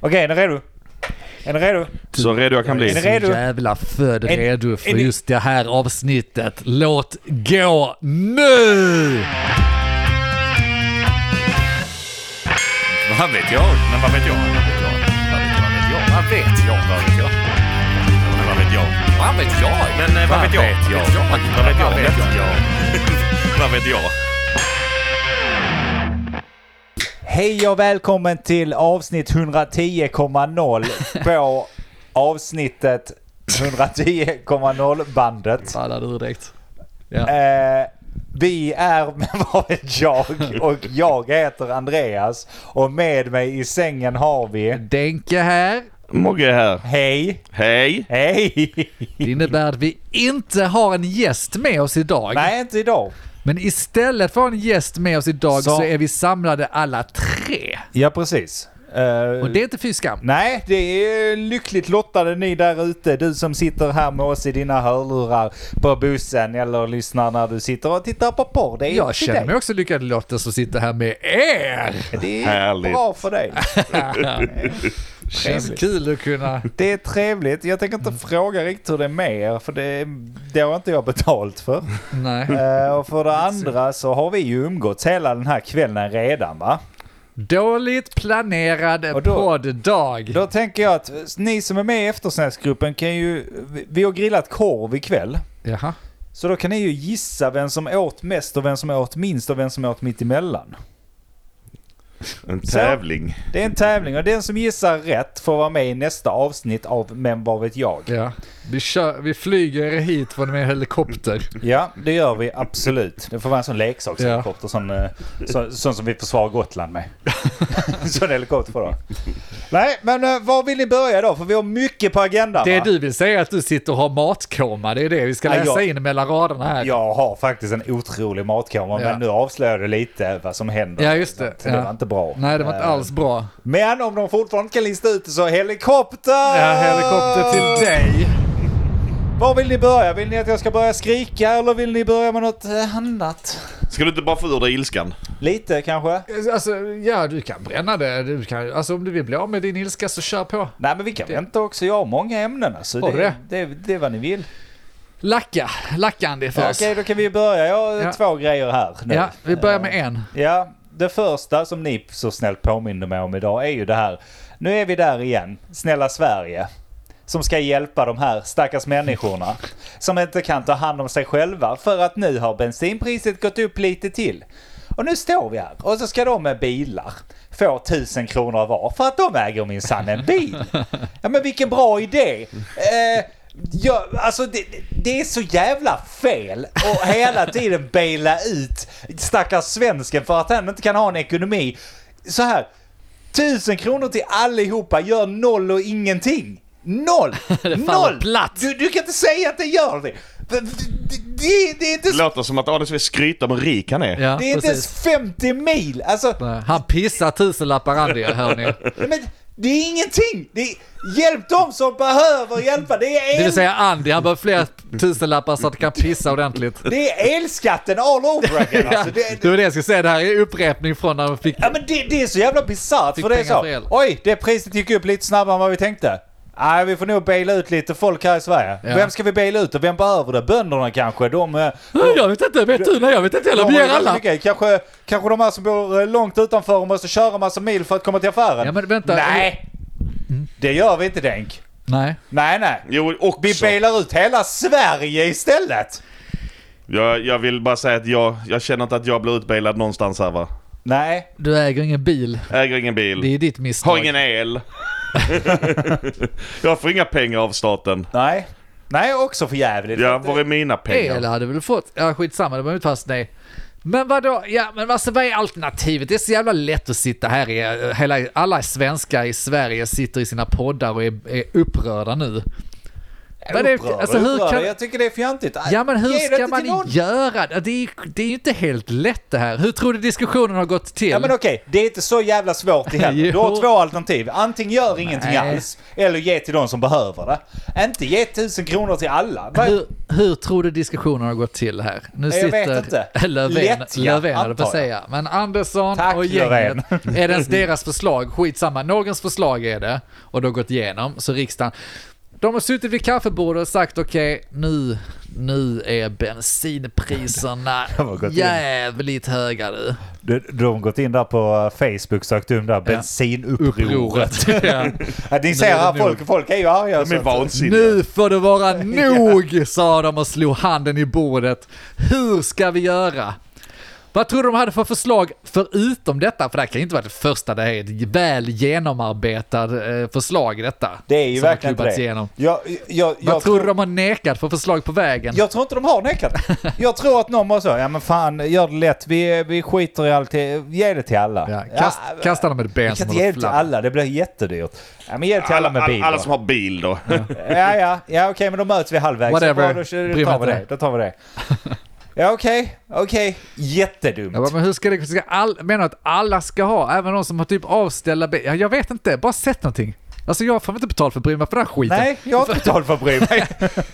Okej, är ni redo? Är ni redo? Så redo jag kan Är ni bli. re- redo? Så jävla född Är ni- redo för är ni- just det här avsnittet. Låt gå nu! Vad vet jag? Men vad vet jag? Vad vet jag? Vad vet jag? Vad vet jag? Men vad vet jag? Vad vet jag? Men eh, vad vet jag? Vad vet jag? Vad vet jag? Vad vet jag? Hej och välkommen till avsnitt 110,0 på avsnittet 110,0 bandet. Ballade ur direkt. Ja. Äh, Eh, vi är med vad vet jag och jag heter Andreas och med mig i sängen har vi... Denke här. Mogge här. Hej! Hej! Hej! Det innebär att vi inte har en gäst med oss idag. Nej, inte idag. Men istället för att ha en gäst med oss idag så, Så- är vi samlade alla tre. Ja, precis. Eh, Och det är inte fy skam. Nej, det är lyckligt lottade ni där ute. Du som sitter här med oss i dina hörlurar på bussen eller lyssnar när du sitter och tittar på porr. Det är Jag till känner dig. mig också lyckad Lotta som sitter här med er. Det är Härligt. bra för dig. Känns kul att kunna... Det är trevligt. Jag tänker inte fråga riktigt hur det är med er, för det, det har inte jag betalt för. Nej. Eh, och för det andra så har vi ju umgåtts hela den här kvällen redan va? Dåligt Och planerad då- podd-dag. Då tänker jag att ni som är med i eftersnacksgruppen kan ju... vi- Vi har grillat korv ikväll. Jaha. Så då kan ni ju gissa vem som åt mest och vem som åt minst och vem som åt mitt emellan. En tävling. Det är en tävling och den som gissar rätt får vara med i nästa avsnitt av Men vad vet jag? Ja. Vi, kör, vi flyger hit från med helikopter. Ja, det gör vi absolut. Det får vara en sån leksakshelikopter, sån, eh, så, sån som vi försvarar Gotland med. sån helikopter får du ha. Nej, men eh, var vill ni börja då? För vi har mycket på agendan Det va? du vill säga är att du sitter och har matkoma, det är det vi ska Ja, läsa jag- in mellan raderna här. Jag har faktiskt en otrolig matkoma, Ja. men nu avslöjar du lite vad som händer. Ja, just det. Så det Ja. var inte bra. Nej, det var inte Eh, alls bra. Men om de fortfarande inte kan lista ut det så helikopter! Ja, helikopter Ah. till dig. Var vill ni börja? Vill ni att jag ska börja skrika eller vill ni börja med något eh, annat? Ska du inte bara få ur dig ilskan? Lite kanske? Alltså, ja, du kan bränna det. Du kan, alltså, om du vill bli av med din ilska så kör på. Nej men vi kan vänta också. Jag har många ämnen alltså. Har du Det, det, det är vad ni vill. Lacka, lacka Andy för Okej, oss. då kan vi börja. Jag har Ja. två grejer här nu. Eh, Ja, vi börjar med en. Ja, det första som ni så snällt påminner mig om idag är ju det här. Nu är vi där igen, snälla Sverige. Som ska hjälpa de här stackars människorna. Som inte kan ta hand om sig själva för att nu har bensinpriset gått upp lite till. Och nu står vi här och så ska de med bilar få 1000 kronor var för att de äger minsann en bil. Ja men vilken bra idé! Eh, ja, alltså det, det är så jävla fel och hela tiden baila ut stackars svensken för att han inte kan ha en ekonomi. Så här, tusen kronor till allihopa gör noll och ingenting. Noll! fan Noll! vad platt. Du, du kan inte säga att det gör det. Det, det, det är inte, Det låter som att Adolf vill skryta om hur rik han är. Ja, det är inte precis. ens 50 mil! Alltså, Nej, Han pissar tusenlappar Andy, hör ni. nej, men det är ingenting! Det är, hjälp dem som behöver hjälpa! Det är en Det vill säga Andy, han behöver fler tusenlappar så att han kan pissa ordentligt. Det är elskatten all over again Ja, alltså. det, det var det jag skulle säga, det här är upprepning från när de fick... ja, men det, det är så jävla bisarrt Fick för det är pengar så. för el. Oj, det priset gick upp lite snabbare än vad vi tänkte. Nej, vi får nog baila ut lite folk här i Sverige. Ja. Vem ska vi baila ut och vem behöver det? Bönderna kanske? De... eh, Jag vet inte, vet du? Nej, jag vet inte heller. de Vi har är ju väldigt alla. mycket. Kanske, kanske de här som bor eh, långt utanför och måste köra massa mil för att komma till affären. Ja, men vänta. Mm. Nej! Det gör vi inte Denk. Nej. Nej, nej. Jo, också. Vi bailar ut hela Sverige istället. Jag, jag vill bara säga att jag, jag känner inte att jag blir utbelad någonstans här va. Nej, Du äger ingen bil. Äger ingen Det bil. är ditt misstag. Har ingen el. jag får inga pengar av staten. nej. Nej, också för jävligt. Ja, var är mina El pengar? hade väl fått. Ja, skitsamma, det behöver inte fast nej. Men vadå? Ja, men alltså, vad är alternativet? Det är så jävla lätt att sitta här i... Hela, alla svenskar i Sverige sitter i sina poddar och är, är upprörda nu. Men det- alltså, hur upprörd. kan- eh, Jag tycker det är fjantigt. Ja men hur Ge det ska inte till man någon. göra det? Det är, ju- det är ju inte helt lätt det här. Hur tror du diskussionen har gått till? Ja men okej, det är inte så jävla svårt det heller. Du Jo. har två alternativ. Antingen gör ingenting Nej. alls, eller ge till de som behöver det. Inte ge tusen kronor till alla. Vad- hur, hur tror du diskussionen har gått till här? Nu Jag vet inte. Löfven, Lätt, ja, Löfven höll jag på att antar jag. säga. Men Andersson Tack, och gänget, är det ens deras förslag? Skitsamma, någons förslag är det och det har gått igenom. Så riksdagen, de har suttit vid kaffebordet och sagt okej, nu, nu är bensinpriserna De har gått in. jävligt höga nu. De, de har gått in där på eh, Facebook sökt um där bensinupproret. Ja. Ja, ni Nu ser är det här, folk, nog. folk är ju arga. De är så att- vansinniga. Nu får det vara nog, sa de och slog handen i bordet. Hur ska vi göra? Vad tror du de hade för förslag förutom detta? För det här kan ju inte vara det första, det här är ett väl genomarbetat eh, förslag detta. Det är ju som har verkligen inte klubbats det. Igenom. Jag, jag, jag, Vad jag tror du de har nekat för förslag på vägen? Jag tror inte de har nekat. Jag tror att någon bara så, ja men fan, gör det lätt, vi, vi skiter i allt, ge det till alla. Ja, kast, Ja, kasta dem ett ben vi kan som inte ge håller det till flamman. alla, det blir jättedyrt. Ja men ge det till alla, med bil alla då. som har bil då. Ja, ja, ja okej, men då möts vi halvvägs. Whatever. Ja, då, då, Bryr mig tar inte. vi det. då tar vi det. Ja, okej, okej. Jättedumt. Jag bara, men hur ska det, ska all, menar du att alla ska ha, även de som har typ avställda ben? Ja, jag vet inte, bara sätt någonting. Alltså jag får inte betalt för att bry mig för den här skiten. Nej, jag har inte betalt för att bry mig.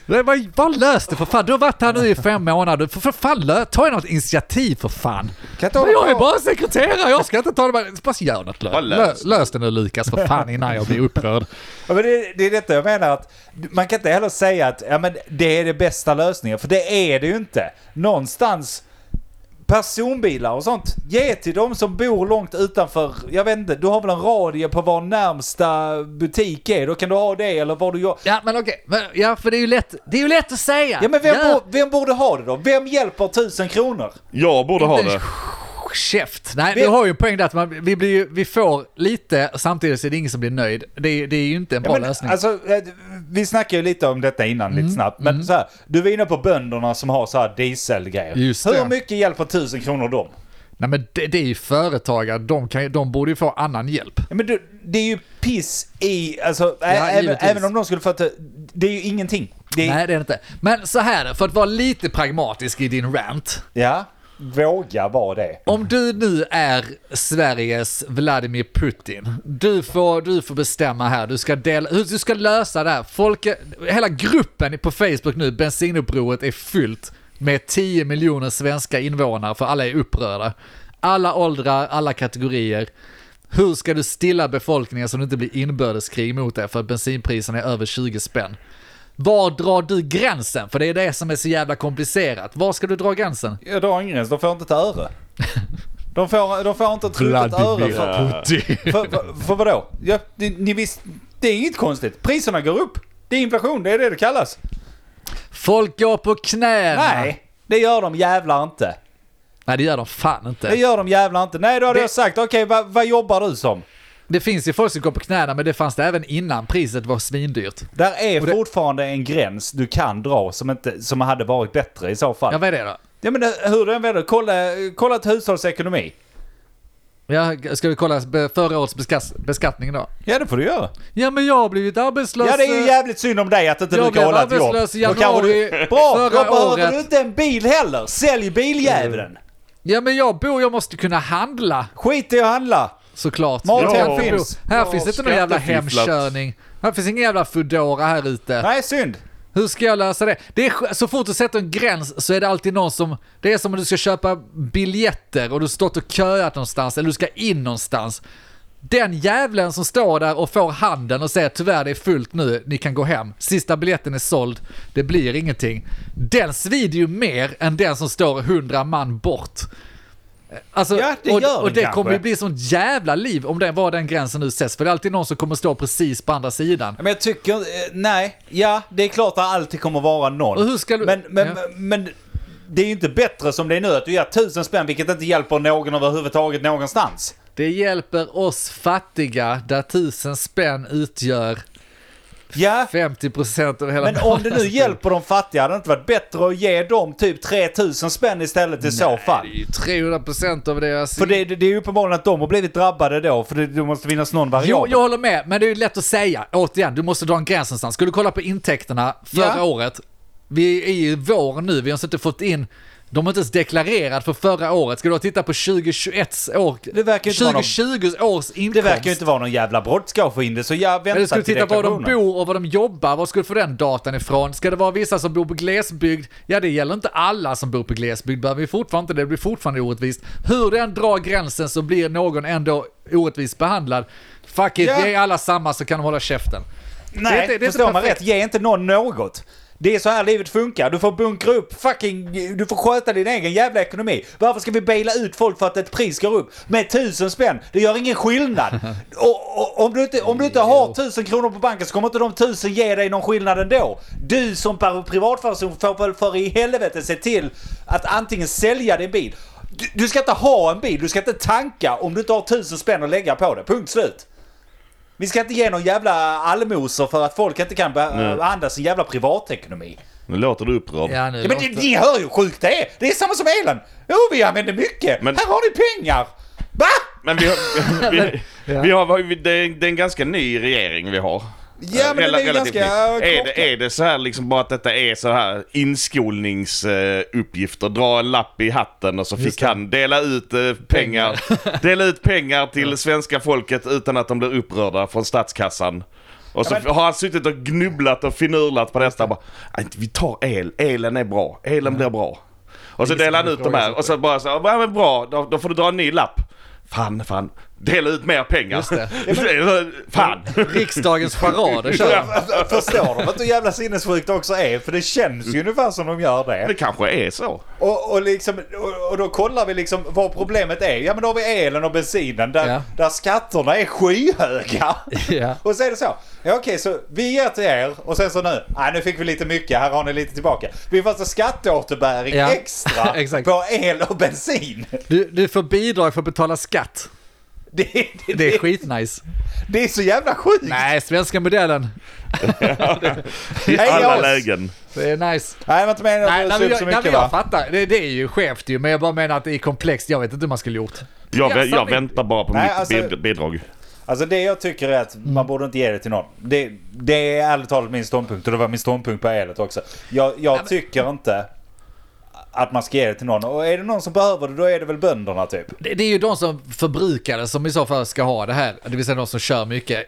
Nej, vad, vad lös det för fan. Du har varit här nu i fem månader. För, för fan, lö, ta något initiativ för fan. Kan inte Men hålla jag är på. bara sekreterare, jag ska inte ta det bara... Bara gör något lö, Bara lö, lös. lös det nu Lukas, för fan innan jag blir upprörd. Ja, men det, det är detta jag menar att man kan inte heller säga att ja, men det är det bästa lösningen, för det är det ju inte. Någonstans personbilar och sånt, ge till de som bor långt utanför, jag vet inte, du har väl en radie på var närmsta butik är, då kan du ha det eller var du gör. Ja, men okej. Men, ja, för det är ju lätt, det är ju lätt att säga. Ja men vem, Gör- bor- vem borde ha det då? Vem hjälper tusen kronor? Jag borde ha Inte det. Käft! Nej, Vi- du har ju en poäng där att man, vi, blir ju, vi får lite, samtidigt så är det ingen som blir nöjd. Det, är- det är ju inte en bra Ja, men, lösning. Alltså, eh, vi snackade ju lite om detta innan Mm. lite snabbt. Men så här, du var inne på bönderna som har så här dieselgrejer. Just Hur det. mycket hjälper 1000 kronor dem? Nej men det, det är ju företagare, de, kan, ju- de borde ju få annan hjälp. Ja, Men du, det är ju piss i, alltså, ä- även, givetvis. även om de skulle få att det är ju ingenting. Det är, Nej, det är det inte. Men så här, för att vara lite pragmatisk i din rant. Ja, våga vara det. Om du nu är Sveriges Vladimir Putin, du får, du får bestämma här, du ska, dela, hur du ska lösa det här. Folk, är- hela gruppen på Facebook nu, bensinupproret, är fyllt med 10 miljoner svenska invånare, för alla är upprörda. Alla åldrar, alla kategorier. Hur ska du stilla befolkningen så det inte blir inbördeskrig mot dig för att bensinpriserna är över 20 spänn? Var drar du gränsen? För det är det som är så jävla komplicerat. Var ska du dra gränsen? Jag drar en gräns, de får inte ett öre. De får, de får inte ett ruttet öre för, för, Putin. för, för vadå? Ja, det, ni visst, det är inget konstigt. Priserna går upp. Det är inflation, det är det det kallas. Folk går på knäna. Nej, det gör de jävlar inte. Nej, det gör de fan inte. Det Det, gör de jävlar inte. Nej, då hade Det- jag sagt, okej, vad, vad jobbar du som? finns ju folk som går på knäna, men det fanns det även innan priset var svindyrt. Där är Och det- fortfarande en gräns du kan dra som, inte, som hade varit bättre i så fall. Ja, Ja, vad är det då? men det- hur du än väljer, kolla, kolla ett hushålls ekonomi. Ja, ska vi kolla be- förra årets beskas- beskattning då? Ja, det får du göra. Ja, men jag har blivit arbetslös. Ja, det är ju eh, jävligt synd om dig att inte Jag du kan blev hålla ett jobb. arbetslös i Då kanske januari du... Bra, förra då behöver året. Mm. du inte en bil heller. Sälj biljäveln. Ja, men jag bor, jag måste kunna handla Skit i att handla. såklart. Mat Jag hem kan inte finns. bo. Här Ja, finns inte någon jävla skattefifflat. hemkörning. Här finns ingen jävla Foodora här ute. Nej, synd. Hur ska jag lösa det? det är, sk- så fort du sätter en gräns så är det alltid någon som... Det är som om du ska köpa biljetter och du har stått och köat någonstans eller du ska in någonstans. Den jävlen som står där och får handen och säger tyvärr det är fullt nu, ni kan gå hem. Sista biljetten är såld, det blir ingenting. Den svider ju mer än den som står 100 man bort. Alltså, Ja, det och, gör och den det kanske. kommer ju bli sånt jävla liv om det var den gränsen nu sätts. För det är alltid någon som kommer stå precis på andra sidan. Men jag tycker... eh, Nej, ja, det är klart det alltid kommer vara någon. Och hur ska du- Men, men, ja. men det är ju inte bättre som det är nu att du ger tusen spänn vilket inte hjälper någon överhuvudtaget någonstans. Det hjälper oss fattiga där tusen spänn utgör Ja, 50% av hela men om du Alltså, nu hjälper de fattiga, hade det inte varit bättre att ge dem typ 3000 spänn istället i så fall? Det är ju 300% av deras... För det, det, det är ju uppenbarligen att de har blivit drabbade då, för det, det måste finnas någon variabel. Jo, jag håller med, men det är ju lätt att säga. Återigen, du måste dra en gräns någonstans. Skulle du kolla på intäkterna förra Ja. året. Vi är ju i vår nu, vi har inte fått in... De har inte ens deklarerat för förra året. Ska du då titta på 2021 år... Det verkar ju inte vara någon- 2020 års inkomst. Det verkar ju inte vara någon jävla brådska att få in det, så jag väntar Eller ska du till titta på var de deklarationen. bor och var de jobbar? Var ska du få den datan ifrån? Ska det vara vissa som bor på glesbygd? Ja, det gäller inte alla som bor på glesbygd. Behöver vi fortfarande inte det. Det blir fortfarande orättvist. Hur den drar gränsen så blir någon ändå orättvist behandlad. Fuck it, Ja. ge alla samma så kan de hålla käften. Nej, Det är inte- det är inte förstår man perfekt. rätt? Ge inte någon något. Det är så här livet funkar. Du får bunkra upp fucking... Du får sköta din egen jävla ekonomi. Varför ska vi baila ut folk för att ett pris går upp med tusen spänn? Det gör ingen skillnad. Och, och, om, du inte, om du inte har tusen kronor på banken så kommer inte de tusen ge dig någon skillnad ändå. Du som per- privatperson får väl för i helvete se till att antingen sälja din bil. Du, du ska inte ha en bil, du ska inte tanka om du inte har tusen spänn att lägga på det. Punkt slut. Vi ska inte ge någon jävla allmosor för att folk inte kan be- behandla sin jävla privatekonomi. Nu låter du upprörd. Ja, nu Ja, men låter- ni, ni hör ju hur sjukt det är! Det är samma som elen! Jo, vi använder mycket! Men- Här har ni pengar! Va? Men vi har... vi, Ja. vi har vi, det, är, det är en ganska ny regering vi har. Ja, men den Rela- är ju relativt ganska, ny. äh, är, korkad. det, är det så här liksom bara att detta är så här inskolningsuppgifter? Dra en lapp i hatten och så fick han dela ut eh, pengar. dela ut pengar till svenska folket utan att de blir upprörda från statskassan. Och så Ja, men- har han suttit och gnubblat och finurlat på detta. Bara, "Nej, vi tar el, elen är bra, elen blir bra. Och så Ingen delar som han ut de här och så bara så, här, ja men bra, då, då får du dra en ny lapp. Fan, fan, dela ut mer pengar. Just det. fan. Riksdagens charader kör de. Förstår de att hur jävla sinnessjukt det också är? För det känns ju ungefär som de gör Det det. kanske är så. Och, och, liksom, och, och då kollar vi liksom vad problemet är. Ja men då har vi elen och bensinen där, Ja. där skatterna är skyhöga. Ja. Och så är det så. Ja, okej, så vi ger till er och sen så nu. Nej, nu fick vi lite mycket. Här har ni lite tillbaka. Vi får alltså skatteåterbäring Ja, extra exakt. på el och bensin. Du, du får bidrag för att betala skatt. Det, det, det, Det är skitnice. det är så jävla sjukt. Nej, svenska modellen. I Hej, alla oss. lägen. Det är nice. Nej, men inte meningen att Nej, blåsa upp nej, men så jag, nej, men mycket jag va? fattar. Det, det är ju skevt ju, men jag bara menar att det är komplext. Jag vet inte hur man skulle gjort. Jag, vä- Ja, jag sanning. väntar bara på Nej, mitt alltså- bid- bidrag. Alltså det jag tycker är att Mm. man borde inte ge det till någon. Det, det är ärligt talat min ståndpunkt och det var min ståndpunkt på elet också. Jag, jag tycker inte att man ska ge det till någon. Och är det någon som behöver det då är det väl bönderna typ. Det, det är ju de som förbrukar det som i så fall ska ha det här, det vill säga de som kör mycket.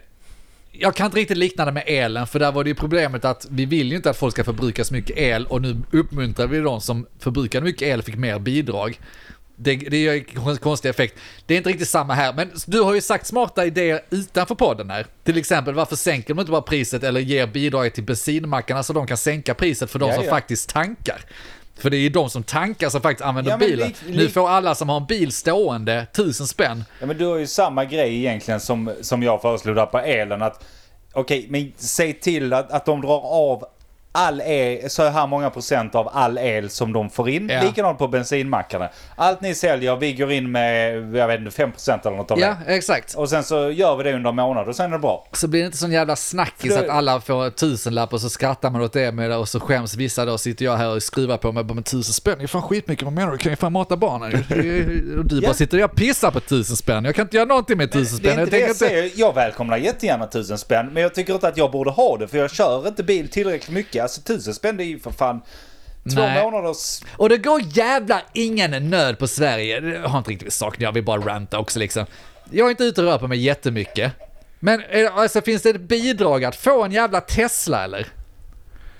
Jag kan inte riktigt likna det med elen, för där var det ju problemet att vi vill ju inte att folk ska förbruka så mycket el och nu uppmuntrar vi de som förbrukade mycket el fick mer bidrag. Det, det gör ju kon- konstig effekt. Det är inte riktigt samma här, men du har ju sagt smarta idéer utanför podden här. Till exempel varför sänker de inte bara priset eller ger bidrag till bensinmackarna så de kan sänka priset för de Ja, som ja. faktiskt tankar. För det är ju de som tankar som faktiskt använder Ja, men bilen. lik- Nu lik- får alla som har en bil stående tusen spänn. Ja, men du har ju samma grej egentligen som, som jag föreslog där på elen. att Okej, men säg till att, att de drar av all el, så här många procent av all el som de får in. Ja. Likadant på bensinmackarna. Allt ni säljer, vi går in med, jag vet inte, 5 procent eller något av Ja, det. exakt. Och sen så gör vi det under en månad och sen är det bra. Så blir det inte sån jävla snackis För det- att alla får en tusenlapp och så skrattar man åt det med det och så skäms vissa då sitter jag här och skruvar på mig bara med tusen spänn. Det är fan skitmycket, vad menar du? Du kan ju fan mata barnen ju." Och du bara Ja. sitter och pissar på tusen spänn. Jag kan inte göra någonting med tusen Det spänn. är Jag inte det tänker jag inte... säger. Jag välkomnar jättegärna tusen spänn. Men jag tycker inte att jag borde ha det. För jag kör inte bil tillräckligt mycket. Alltså tusen spänn det är ju för fan två Nej. månaders... Och det går jävla ingen nöd på Sverige. Det har inte riktigt med saken jag vill bara ranta också liksom. Jag är inte ute och rör på mig jättemycket. Men är det- alltså, finns det ett bidrag att få en jävla Tesla eller?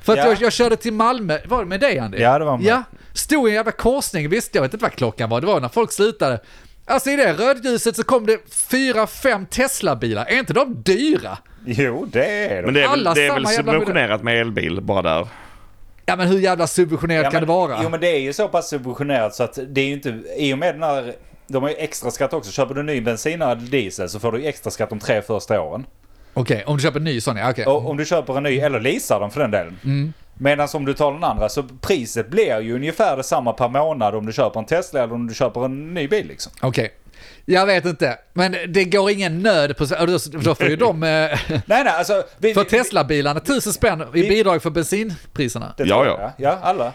För att Ja. jag, jag körde till Malmö, var det med dig Andy? Ja, det var med. Ja, stod i en jävla korsning, visst jag vet inte vad klockan var, det var när folk slutade. Alltså i det rödljuset så kom det fyra, fem Tesla-bilar, är inte de dyra? Jo, det är det. Men det är väl, Alla det är väl samma jävla subventionerat med elbil bara där. Ja men hur jävla subventionerat Ja, kan men- det vara? Jo men det är ju så pass subventionerat så att det är ju inte, i och med den här, de har ju extra skatt också. Köper du ny bensinare eller diesel så får du ju extra skatt de tre första åren. Okej, om du köper en ny sån ja, okej. Och om du köper en ny, eller leasar den för den delen. Mm. Medan om du tar den andra så priset blir ju ungefär detsamma per månad om du köper en Tesla eller om du köper en ny bil liksom. Okej. Jag vet inte, men det går ingen nöd på... och Då, då får ju de... eh, Nej, nej, alltså... Vi, För vi- vi- Tesla-bilarna, tusen spänn i bidrag för bensinpriserna. det Ja, tror ja. jag. Ja, alla.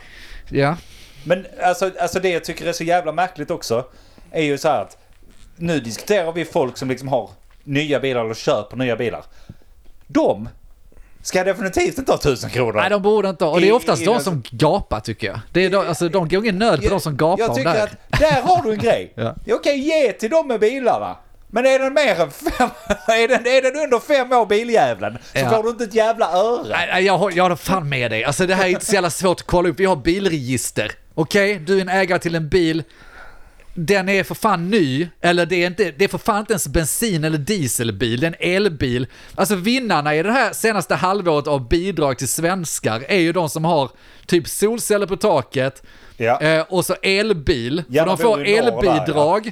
Ja. Men alltså, alltså det jag tycker är så jävla märkligt också är ju så här att nu diskuterar vi folk som liksom har nya bilar eller köper nya bilar. De ska definitivt inte ha tusen kronor. Nej, de borde inte ha. Och det I- är oftast i de den- som gapar tycker jag. Det är de, alltså, de går ingen nöd på de som gapar jag om tycker det här. att där har du en grej. Ja. Jag kan ge till dem med bilarna. Men är den mer än fem, är den, är den under fem år biljäveln så Ja. får du inte ett jävla öre. Nej, nej, jag, hå- jag håller fan med dig. Alltså det här är inte så jävla svårt att kolla upp. Vi har bilregister. Okej, du är en ägare till en bil. Den är för fan ny, eller det är, inte, det är för fan inte ens bensin eller dieselbil, det är en elbil. Alltså vinnarna i det här senaste halvåret av bidrag till svenskar är ju de som har typ solceller på taket Ja. eh, och så elbil. Ja, För man de får bor i norr där, ja. elbidrag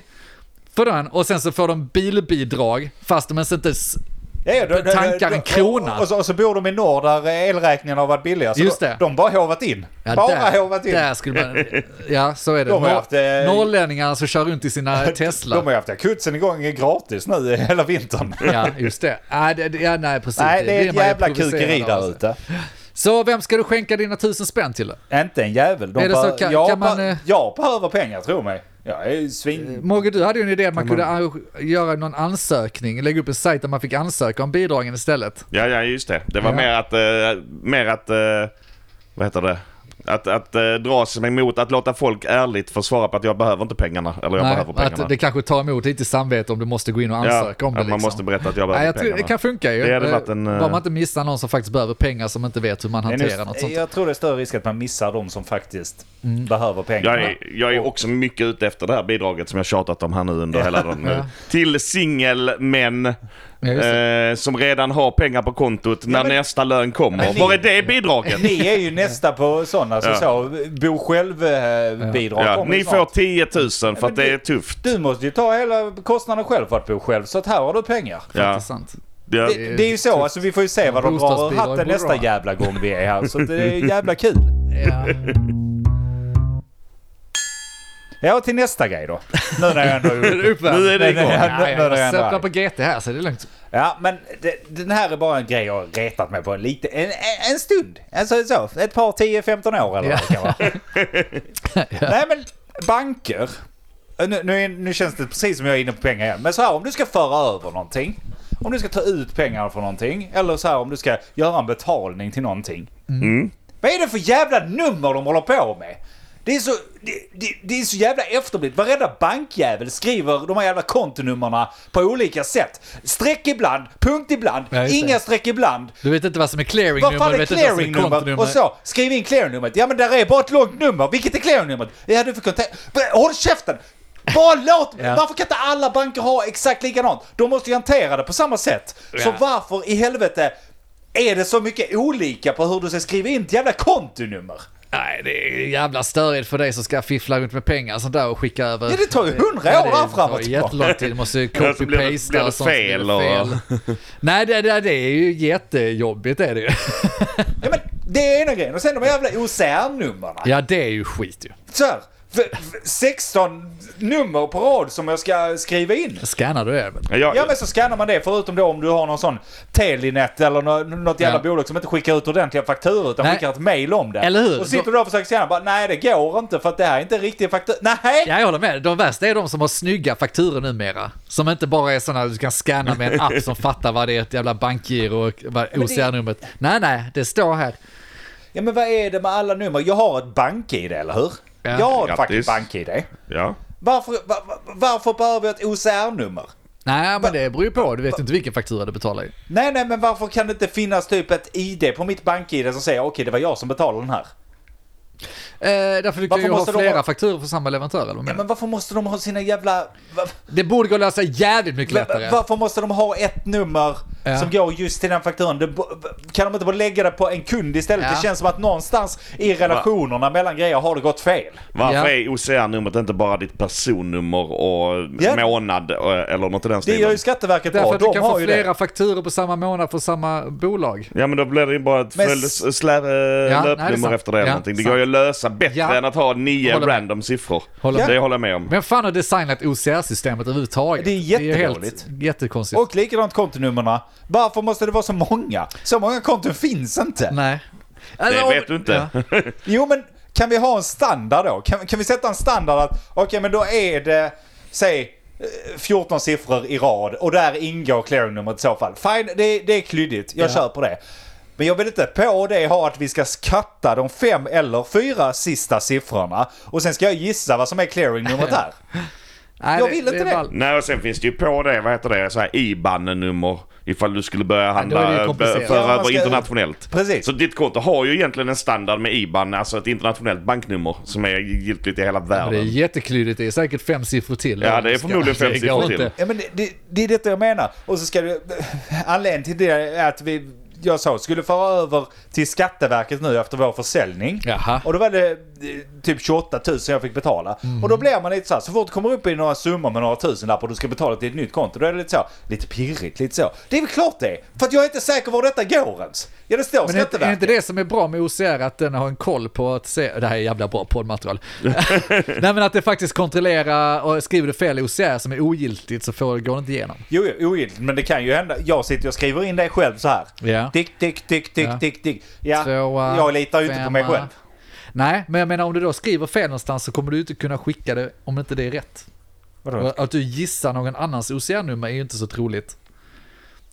för den och sen så får de bilbidrag fast de ens inte... s- Ja, då- då- tankar en då- krona. Och så, och så bor de i norr där elräkningen har varit billiga. Så Just de- det. De bara håvat in. Ja, bara där, håvat in. där skulle man... Ja, så är det. De har Norr- haft, eh, Norrlänningarna som kör runt i sina Tesla. De har ju haft akutsen igång gratis nu hela vintern. Ja, just det. Nej, det, det- ja, nej precis. Nej, det är blir ett man ju jävla provocerad kukeri av, där alltså. ute. Så vem ska du skänka dina tusen spänn till? då? Inte en jävel. De Är det bara- så? Kan- jag, kan man, bara- eh, jag behöver pengar, tro mig. Jag är svin... Mogge, du hade ju en idé att man kunde arrange- göra någon ansökning, lägga upp en sajt där man fick ansöka om bidragen istället. Ja, ja, just det. Det var Ja. mer att... eh, mer att eh, vad heter det? Att, att eh, dra sig emot att låta folk ärligt få svara på att jag behöver inte pengarna. Eller jag behöver pengarna. att det kanske tar emot lite samvete om du måste gå in och ansöka om det. att man Liksom. måste berätta att jag behöver Nej, jag tror, pengarna. det kan funka ju. Det hade Eh, varit en, eh, Bara man inte missar någon som faktiskt behöver pengar som inte vet hur man Men nu- hanterar något sånt. Mm. jag tror det är större risk att man missar de som faktiskt behöver pengarna. Jag är, jag är också mycket ute efter det här bidraget som jag tjatat om här nu under hela den. Ja. Till singelmän just eh, som redan har pengar på kontot när men- nästa lön kommer. Men ni- Var är det bidraget? Ni är ju nästa på sådana som Ja. så, bo eh, själv-bidrag Ja, ni får 10 000 för men att det det- är tufft. Du måste ju ta hela kostnaden själv för att bo själv, så att här har du pengar. Ja. Intressant. Ja. Det, det är ju så, alltså vi får ju se vad de drar ur Bostadsbidrag hatten borde nästa vara. jävla gång vi är här. Så det är ju jävla kul. Ja. Ja, till nästa grej då. Nu när jag ändå är uppe. Nu är det igång. Nej, nej, nej, Nej, nej, nej, nej. jag söpplar på GT här så det är lugnt. Ja, men det, den här är bara en grej jag har retat mig på en, lite, en, en- en stund. Alltså så, ett par 10-15 år eller vad det kan vara. Nej men, banker. Eh, Nu, nu, är- nu känns det precis som jag är inne på pengar igen. Men så här, om du ska föra över någonting. Om du ska ta ut pengar från någonting. Eller så här om du ska göra en betalning till någonting. Mm. Vad är det för jävla nummer de håller på med? Det är så, det, det, det är så jävla efterblivet. Varenda bankjävel skriver de här jävla kontonummerna på olika sätt. Streck ibland, punkt ibland, Ja, just det. inga streck ibland. Du vet inte vad som är Vad clearingnummer, fan du är vet inte vad som är clearingnummer? Och kontonummer. så, skriv in clearingnumret. Ja men där är bara ett långt nummer. Vilket är clearingnumret? Ja du får kontakt... Håll käften! Bara låt... Ja. Varför kan inte alla banker ha exakt likadant? De måste ju hantera det på samma sätt. Så Ja. varför i helvete är det så mycket olika på hur du ska skriva in ett jävla kontonummer? Nej, det är jävla störigt för dig som ska fiffla runt med pengar och sånt där och skicka över. Ja, det tar ju hundra Ja, år det här framåt. tar jättelång tid. Du måste ju Ja, så blir det- blir copy-pasta det och sånt. som fel blir och- fel. Nej, det, det, det är ju jättejobbigt är det ju. Ja men det är ena grejen. Och sen de jävla OCR-numren. Ja, det är ju skit ju. Så här, v- v- 16 nummer på rad som jag ska skriva in. Scannar du det väl? Jag, Ja men så scannar man det förutom då om du har någon sån Telinet eller nå- något jävla Ja. bolag som inte skickar ut ordentliga fakturor utan Nej. skickar ett mail om det. Eller hur? Och sitter du då och försöker scanna bara nej det går inte för att det här är inte riktiga fakturor. Nej! Ja, jag håller med. De värsta är de som har snygga fakturor numera. Som inte bara är sådana du kan scanna med en app som fattar vad det är ett jävla bankgiro och vad OCR-numret. Nej, nej, det står här. Ja men vad är det med alla nummer? Jag har ett bank-id eller hur? Ja. Jag har ett fucking Grattis. bank-id. ja. Varför, va- va- varför behöver jag ett OCR-nummer? Nej, men det beror ju på. Du vet ju inte vilken faktura du betalar Eh, ju. Nej nej men varför kan det inte finnas typ ett ID på mitt bank-id som säger okej det var jag som betalade den här? Eh, därför du kan Varför ju ha måste de flera ha- fakturor för samma leverantör eller vad Ja, menar men varför måste de ha sina jävla... va- du? Det borde gå att lösa jävligt mycket Men lättare. Varför måste de ha ett nummer Ja. som går just till den fakturan. Det, bo- kan de inte bara lägga det på en kund istället? Ja. Det känns som att någonstans i relationerna mellan grejer har det gått fel. Varför Ja. är OCR-numret inte bara ditt personnummer och Ja. månad eh, eller något i den Det stilen? gör ju Skatteverket Därför bra. att du De kan få har ju flera det. fakturor på samma månad för samma bolag. Ja men då blir det ju bara ett Men följd, s- slä, Ja, ja, nej, det är löpnummer sant. efter det eller Ja, någonting. Det sant. går ju att lösa bättre Ja. än att ha nio Håller med. random siffror. Håller Det med. håller jag med om. Vem fan har designat OCR-systemet överhuvudtaget? Det är ju jättedåligt. helt- Jättekonstigt. Och likadant kontonumren. Varför måste det vara så många? Så många konton finns inte. Nej. Det vet du inte. Ja. Jo, men kan vi ha en standard då? Kan, kan vi sätta en standard att okej, men då är det, säg, eh, 14 siffror i rad och där ingår clearingnumret i så fall. Fine, det, det är klyddigt. Jag Ja. kör på det. Men jag vill inte på det ha att vi ska skatta de fem eller fyra sista siffrorna och sen ska jag gissa vad som är clearingnumret där. Nej, Jag vill inte det. ball. Nej och sen finns det ju på det, vad heter det, så här IBAN-nummer. Ifall du skulle börja då är det ju handla, komplicerat. bö- föra Ja, man över ska- internationellt. Precis. Så ditt konto har ju egentligen en standard med IBAN, alltså ett internationellt banknummer som är giltigt i hela Det är världen. jätteklydigt. Det är säkert fem siffror till. Ja, det är förmodligen fem Det siffror går till. inte. Ja, men det, det, det är detta jag menar. Och så ska du... Anledningen till det är att vi, jag sa, skulle föra över till Skatteverket nu efter vår försäljning. Jaha. Och då var det eh, typ 28 000 jag fick betala. Mm. Och då blir man lite så här, så fort du kommer upp i några summor med några tusen och du ska betala till ett nytt konto, då är det lite så, lite pirrigt, lite så. Det är väl klart det är, För att jag är inte säker var detta går ens. Ja, det står Men är, är inte Skatteverket. det som är bra med OCR att den har en koll på att se, det här är jävla bra poddmaterial. Nej men att det faktiskt kontrollerar och skriver du fel i OCR som är ogiltigt så får, går det inte igenom. Jo, jo, ogiltigt, men det kan ju hända. Jag sitter och skriver in det själv så här. Ja. Tick, tick, tick, tick, Ja. tick, tick. Ja, Tvåa, jag litar ju inte på mig femma. själv. Nej, men jag menar om du då skriver fel någonstans så kommer du inte kunna skicka det om inte det är rätt. Vadå? Och Att du gissar någon annans OCR-nummer är ju inte så troligt.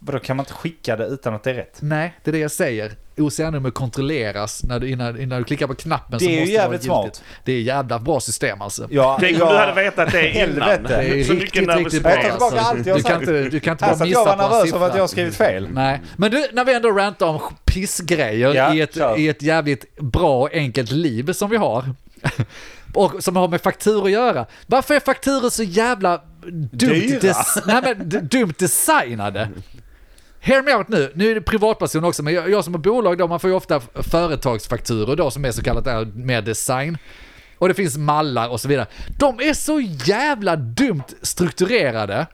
Vadå, kan man inte skicka det utan att det är rätt? Nej, det är det jag säger. OCR-nummer kontrolleras när du, innan, innan du klickar på knappen Det så är ju måste vara jävligt smart. giltigt. Det är jävla bra system alltså. Ja, Tänk om jag- du hade vetat det innan. Helvete. Det är Så mycket riktigt, riktigt bra. nervositet. Jag tar tillbaka allt jag du, kan sagt. inte, du kan inte bara Alltså, att jag var missa på en nervös över att siffra. jag har skrivit fel. Nej, men du, när vi ändå rantar om pissgrejer Ja, i, ett, kör. i ett jävligt bra och enkelt liv som vi har. Och som har med fakturor att göra. Varför är fakturor så jävla dumt, Dyra. des- nej, men, d- dumt designade? Hear me out nu, nu är det privatperson också, men jag, jag som har bolag då, man får ju ofta f- företagsfakturor då som är så kallat där, mer design. Och det finns mallar och så vidare. De är så jävla dumt strukturerade.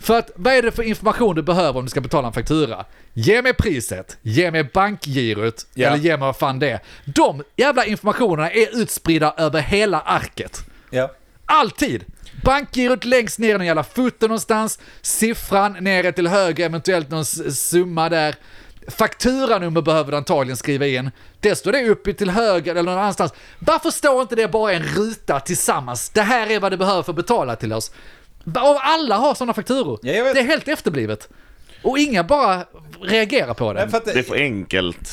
För att vad är det för information du behöver om du ska betala en faktura? Ge mig priset, ge mig bankgirot, Ja. eller ge mig vad fan det är. De jävla informationerna är utspridda över hela arket. Ja. Alltid! Bankgirot längst ner i någon jävla foto någonstans, siffran nere till höger, eventuellt någon s- summa där. Fakturanummer behöver du antagligen skriva in. Det står det uppe till höger eller någon annanstans. Varför står inte det bara i en ruta tillsammans? Det här är vad du behöver för att betala till oss. Ba- Och alla har sådana fakturor. Ja, jag vet. Det är helt efterblivet. Och inga bara reagerar på det. Men för att, Det är för enkelt.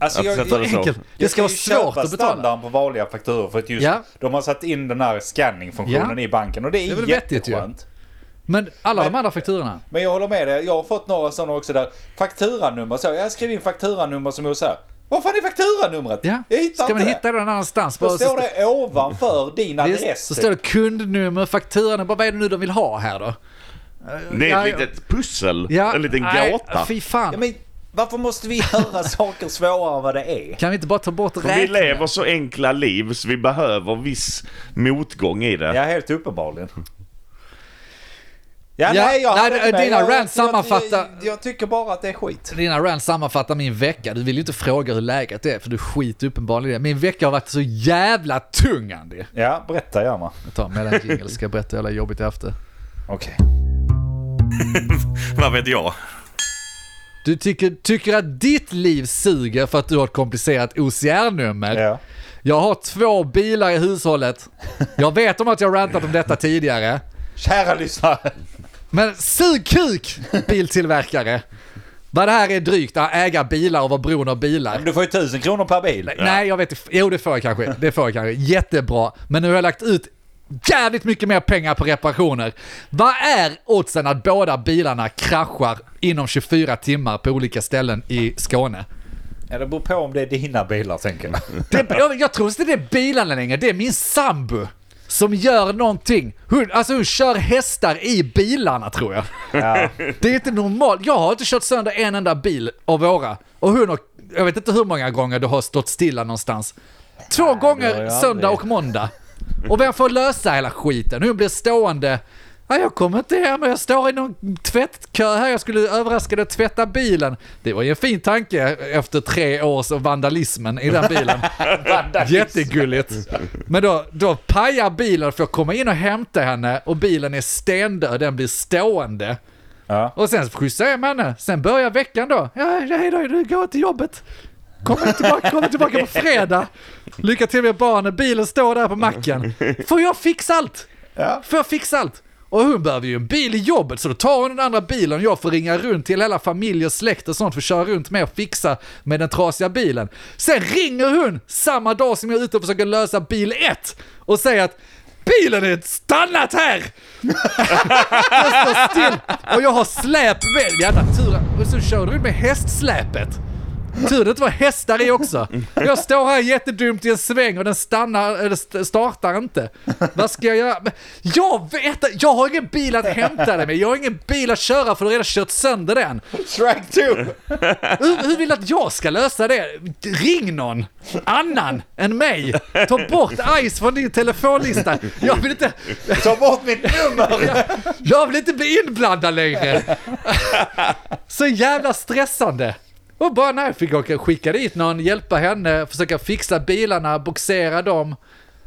alltså, att jag, sätta jag, det så. Enkelt. Det jag ska vara ju köpa svårt att betala. standarden på vanliga fakturor för att just Ja. de har satt in den här scanning-funktionen Ja. i banken och det Det är är, väl vettigt ju. jätteskönt. Men alla de Men- andra fakturorna. Men jag håller med dig, jag har fått några sådana också där fakturanummer så, jag skriver in fakturanummer som jag säger. Vad fan är fakturanumret? Ja. Jag hittar Ska man inte hitta det någon annanstans? Då Bara så- står det ovanför din Visst, adress. Så typ. står det kundnummer, fakturanummer, vad är det nu de vill ha här då? Det Ja, är ja. ett litet pussel, Ja, en liten nej, gåta. Fy fan. Ja, men, varför måste vi göra saker svårare än vad det är? Kan vi inte bara ta bort För vi räkningen? lever så enkla liv så vi behöver viss motgång i det. Ja, helt uppenbarligen. Ja, Ja, nej, jag nej, håller det- inte med. dina Jag- rants jag- sammanfattar- Jag, jag tycker bara att det är skit. Dina rants sammanfattar min vecka. Du vill ju inte fråga hur läget är, för du skiter uppenbarligen i det. Min vecka har varit så jävla tung, Andy. Ja, berätta gärna. Jag tar med en jingle, ska jag berätta hur jävla jobbigt jag haft det. Okej. Vad vet jag? Du tycker, tycker att ditt liv suger för att du har ett komplicerat OCR-nummer. Ja. Jag har två bilar i hushållet. Jag vet om att jag rantat om detta tidigare. Kära lyssnare. Men sug kuk, biltillverkare! Vad det här är drygt, att äga bilar och vara beroende av bilar. Du får ju tusen kronor per bil. Nej, jag vet inte. Jo, det får jag kanske. Det får jag kanske. Jättebra. Men nu har jag lagt ut jävligt mycket mer pengar på reparationer. Vad är oddsen att båda bilarna kraschar inom 24 timmar på olika ställen i Skåne? Ja, det beror på om det är dina bilar, tänker jag. Det, jag, jag tror inte det är bilarna längre, det är min sambo. som gör någonting. Hon, alltså hon kör hästar i bilarna tror jag. Det är inte normalt. Jag har inte kört sönder en enda bil av våra. Och hon har, jag vet inte hur många gånger du har stått stilla någonstans. Två har gånger jag söndag aldrig. och måndag. Och vem får lösa hela skiten? Hon blir stående. Ja, jag kommer inte hem och jag står i någon tvättkö här. Jag skulle överraska dig och tvätta bilen. Det var ju en fin tanke efter tre års av vandalismen i den bilen. Jättegulligt. Men då, då pajar bilen för att komma in och hämta henne och bilen är stendöd, den blir stående. Ja. Och sen skjutsar jag med henne. Sen börjar veckan då. Ja, hej då, nu går jag till jobbet. Kommer tillbaka, kommer tillbaka på fredag. Lycka till med barnen, bilen står där på macken. Får jag fixa allt? Får jag fixa allt? Och hon behöver ju en bil i jobbet så då tar hon den andra bilen och jag får ringa runt till hela familj och släkt och sånt för att köra runt med och fixa med den trasiga bilen. Sen ringer hon samma dag som jag är ute och försöker lösa bil 1 och säger att bilen är stannat här! jag står still och jag har släp med. Jävla tur. Och så kör du med hästsläpet. Tur det inte var hästar i också. Jag står här jättedumt i en sväng och den stannar, eller st- startar inte. Vad ska jag göra? Men Jag vet jag har ingen bil att hämta dig med. Jag har ingen bil att köra för du har redan kört sönder den. Strike two! Hur, hur vill du att jag ska lösa det? Ring någon annan än mig. Ta bort ICE från din telefonlista. Jag vill inte... Ta bort mitt nummer! Jag vill inte bli inblandad längre! Så jävla stressande! Och bara när jag fick åka, skicka dit någon, hjälpa henne, försöka fixa bilarna, boxera dem.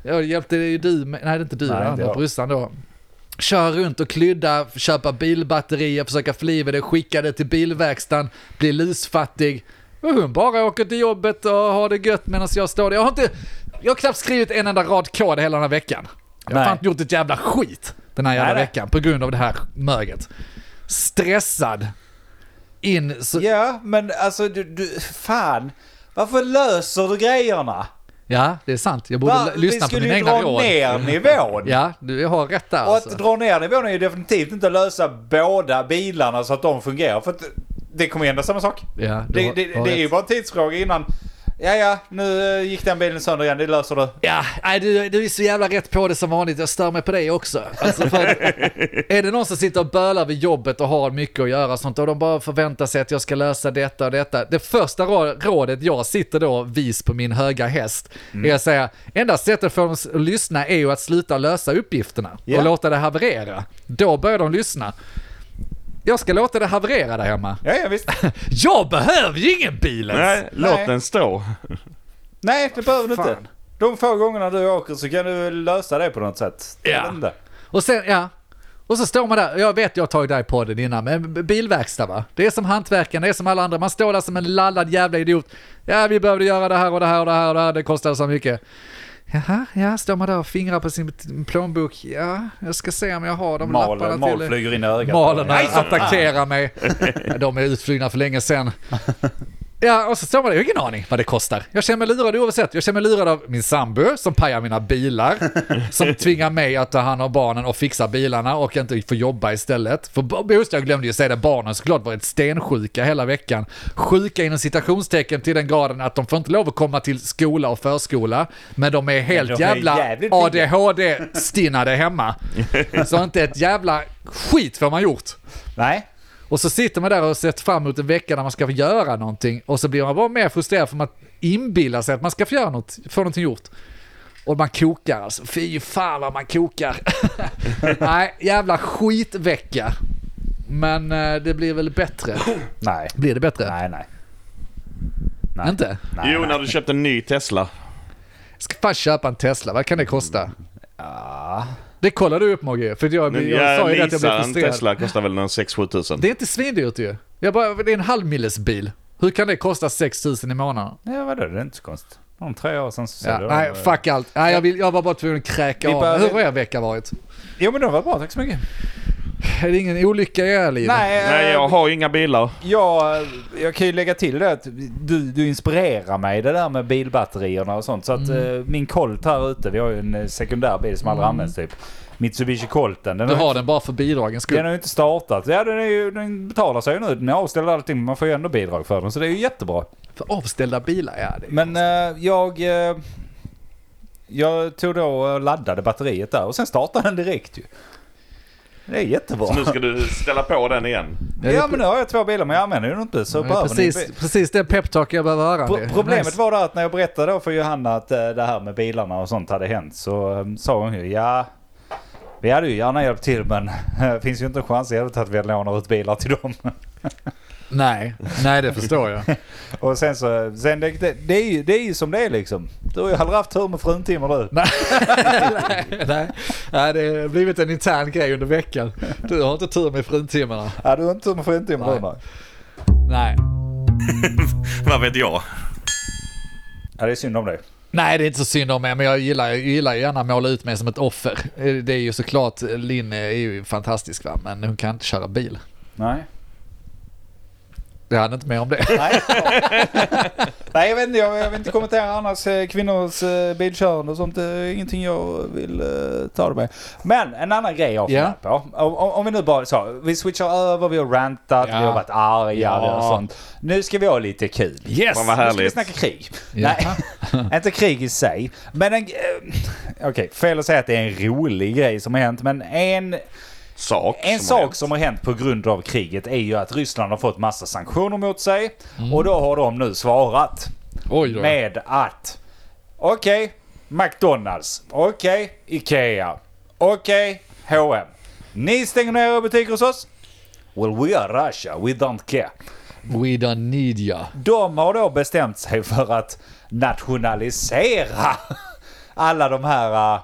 Jag hjälpte ju du, med- nej det är inte du, Nej, det inte andra jag. brorsan då. Köra runt och klydda, köpa bilbatterier, försöka förliva det, skicka det till bilverkstaden, bli lusfattig. Och hon bara åker till jobbet och har det gött medan jag står där. Jag har inte, jag har knappt skrivit en enda rad kod hela den här veckan. Jag har Nej. fan inte gjort ett jävla skit den här jävla Nej, nej. veckan på grund av det här möget. Stressad. In så... Ja, men alltså du, du... Fan! Varför löser du grejerna? Ja, det är sant. Jag borde Va? l- Vi lyssna på skulle mina ju egna dra råd. ner nivån. Ja, du har rätt där Och alltså. att dra ner nivån är ju definitivt inte att lösa båda bilarna så att de fungerar. För att det kommer hända samma sak. Ja, du det, har- det, har det är rätt. ju bara en tidsfråga innan. Ja, ja, nu eh, gick den bilen sönder igen. Det löser du. Ja, nej, du, du är så jävla rätt på det som vanligt. Jag stör mig på dig också. Alltså för, är det någon som sitter och bölar vid jobbet och har mycket att göra och sånt och de bara förväntar sig att jag ska lösa detta och detta. Det första rå- rådet jag sitter då vis på min höga häst Mm. är att säga enda sättet för dem att lyssna är ju att sluta lösa uppgifterna Ja. och låta det haverera. Då börjar de lyssna. Jag ska låta det haverera där hemma. Ja, ja visst. Jag behöver ju ingen bil ens. Nej, låt Nej. den stå. Nej, det behöver du inte. Fan. De få gångerna du åker så kan du lösa det på något sätt. Jag Ja. vet inte. Och sen, ja. Och så står man där, jag vet jag har tagit det här i podden innan, men b- bilverkstad va? Det är som hantverkaren, det är som alla andra, man står där som en lallad jävla idiot. Ja, vi behövde göra det här och det här och det här och det här, det kostar så mycket. Jaha, ja, står man där och fingrar på sin t- plånbok. Ja, jag ska se om jag har de Malen, lapparna mal till... flyger in i ögat. Malen Nej, så- attackerar mig. Ja, De är utflygna för länge sedan. Ja, och så står man där, jag har ingen aning vad det kostar. Jag känner mig lurad oavsett. Jag känner mig lurad av min sambo som pajar mina bilar, som tvingar mig att ta hand om barnen och fixa bilarna och inte få jobba istället. För bo- just det, jag glömde ju säga det, barnen såklart varit stensjuka hela veckan. Sjuka inom citationstecken till den graden att de får inte lov att komma till skola och förskola, men de är helt Men de är jävla jävligt pigga. ADHD-stinnade hemma. Så inte ett jävla skit får man gjort. Nej. Och så sitter man där och sett fram emot en vecka när man ska få göra någonting och så blir man bara mer frustrerad för man inbillar sig att man ska få göra något, få någonting gjort. Och man kokar alltså. Fy fan vad man kokar. Nej, jävla skitvecka. Men eh, det blir väl bättre? Nej. Blir det bättre? Nej, nej. Inte? Nej, jo, nej. när du köpte en ny Tesla. Jag ska fan köpa en Tesla, vad kan det kosta? Det kollar du upp Mogge, för jag, jag sa ju det att jag blev leasar en frustrerad. Tesla kostar väl någon 6-7 tusen. Det är inte svindyrt ju. Jag bara, det är en halvmilles bil. Hur kan det kosta 6 000 i månaden? Ja, vadå? Det är inte så konstigt. Om tre år sen så Ja, säljer nej, de, eh, fuck allt. Nej, jag, vill, jag var bara tvungen att kräka Vi av. behöver- Hur har er vecka varit? Jo, men det var bra. Tack så mycket. Är det ingen olycka i er liv? Nej, Nej, jag har ju inga bilar. Jag, jag kan ju lägga till det att du, du inspirerar mig det där med bilbatterierna och sånt. Så att Mm. eh, min Colt här ute, vi har ju en eh, sekundär bil som aldrig används typ. Mitsubishi Colten. Den Du har, har den bara för bidragens den skull. har ju inte startat. Ja, den, är ju, den betalar sig ju nu. Den är avställd och allting men man får ju ändå bidrag för den. Så det är ju jättebra. eh, För avställda bilar, ja. Det är Men eh, jag... Eh, jag tog då och laddade batteriet där och sen startade den direkt ju. Det är jättebra. Så nu ska du ställa på den igen. Ja men nu har jag två bilar men jag använder ju dem inte så Det är behöver ni- precis, precis det peptalk jag behöver höra. Pro- Det är Problemet nice. var då att när jag berättade då för Johanna att eh, det här med bilarna och sånt hade hänt så eh, sa hon ju ja, vi hade ju gärna hjälpt till men eh, det finns ju inte en chans i helvete att vi lånar ut bilar till dem. Nej, nej det förstår jag. Och sen så, sen det, det, det, är, ju, det är ju som det är liksom. Du har ju aldrig haft tur med fruntimmer du. nej, nej, nej, det har blivit en intern grej under veckan. Du har inte tur med fruntimmarna. Ja, du har inte tur med fruntimmer Nej. du nej. Nej. Vad vet jag? Ja, det är synd om det. Nej, det är inte så synd om mig, men jag gillar, jag gillar gärna att måla ut mig som ett offer. Eh, Det är ju såklart, eh, Linn är ju fantastisk va, men hon kan inte köra bil. Nej. Jag hade inte med om det. Nej, Nej jag, vet inte, jag, jag vill inte kommentera annars eh, kvinnors eh, bilkörande och sånt. Det är ingenting jag vill eh, ta det med. Men en annan grej jag funderar på. Om, om, om vi nu bara så, vi switchar över, vi har rantat, Ja. vi har varit arga Ja. och sånt. Nu ska vi ha lite kul. Yes! Fan Nu ska vad vi härligt. snacka krig. Ja. Nej, inte krig i sig. Men en... eh, Okej, fel att säga att det är en rolig grej som har hänt, men en Sak. en som sak har hänt. som har hänt på grund av kriget är ju att Ryssland har fått massa sanktioner mot sig. Och då har de nu svarat Oj då. med att okej, McDonalds, okej, Ikea, okej, H&M. Ni stänger ner era butiker hos oss? Well we are Russia, we don't care. We don't need ya. De har då bestämt sig för att nationalisera alla de här eh,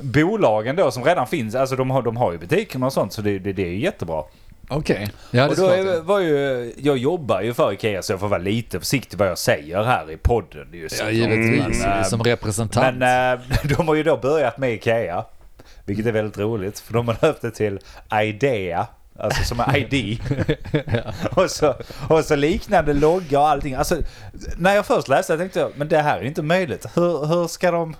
bolagen då som redan finns. Alltså de har, de har ju butikerna och sånt så det, det, det är ju jättebra. Okej. Ja, det är Och då klart. är, ja. var ju, jag jobbar ju för Ikea så jag får vara lite försiktig vad jag säger här i podden. Det är ju Ja, såklart. givetvis. Men, eh, Som representant. men eh, de har ju då börjat med Ikea. Vilket är väldigt roligt för de har döpt det till Idea. Alltså som är ID. och, så, och så liknande logga och allting. Alltså, när jag först läste det tänkte jag, men det här är ju inte möjligt. Hur, hur ska de...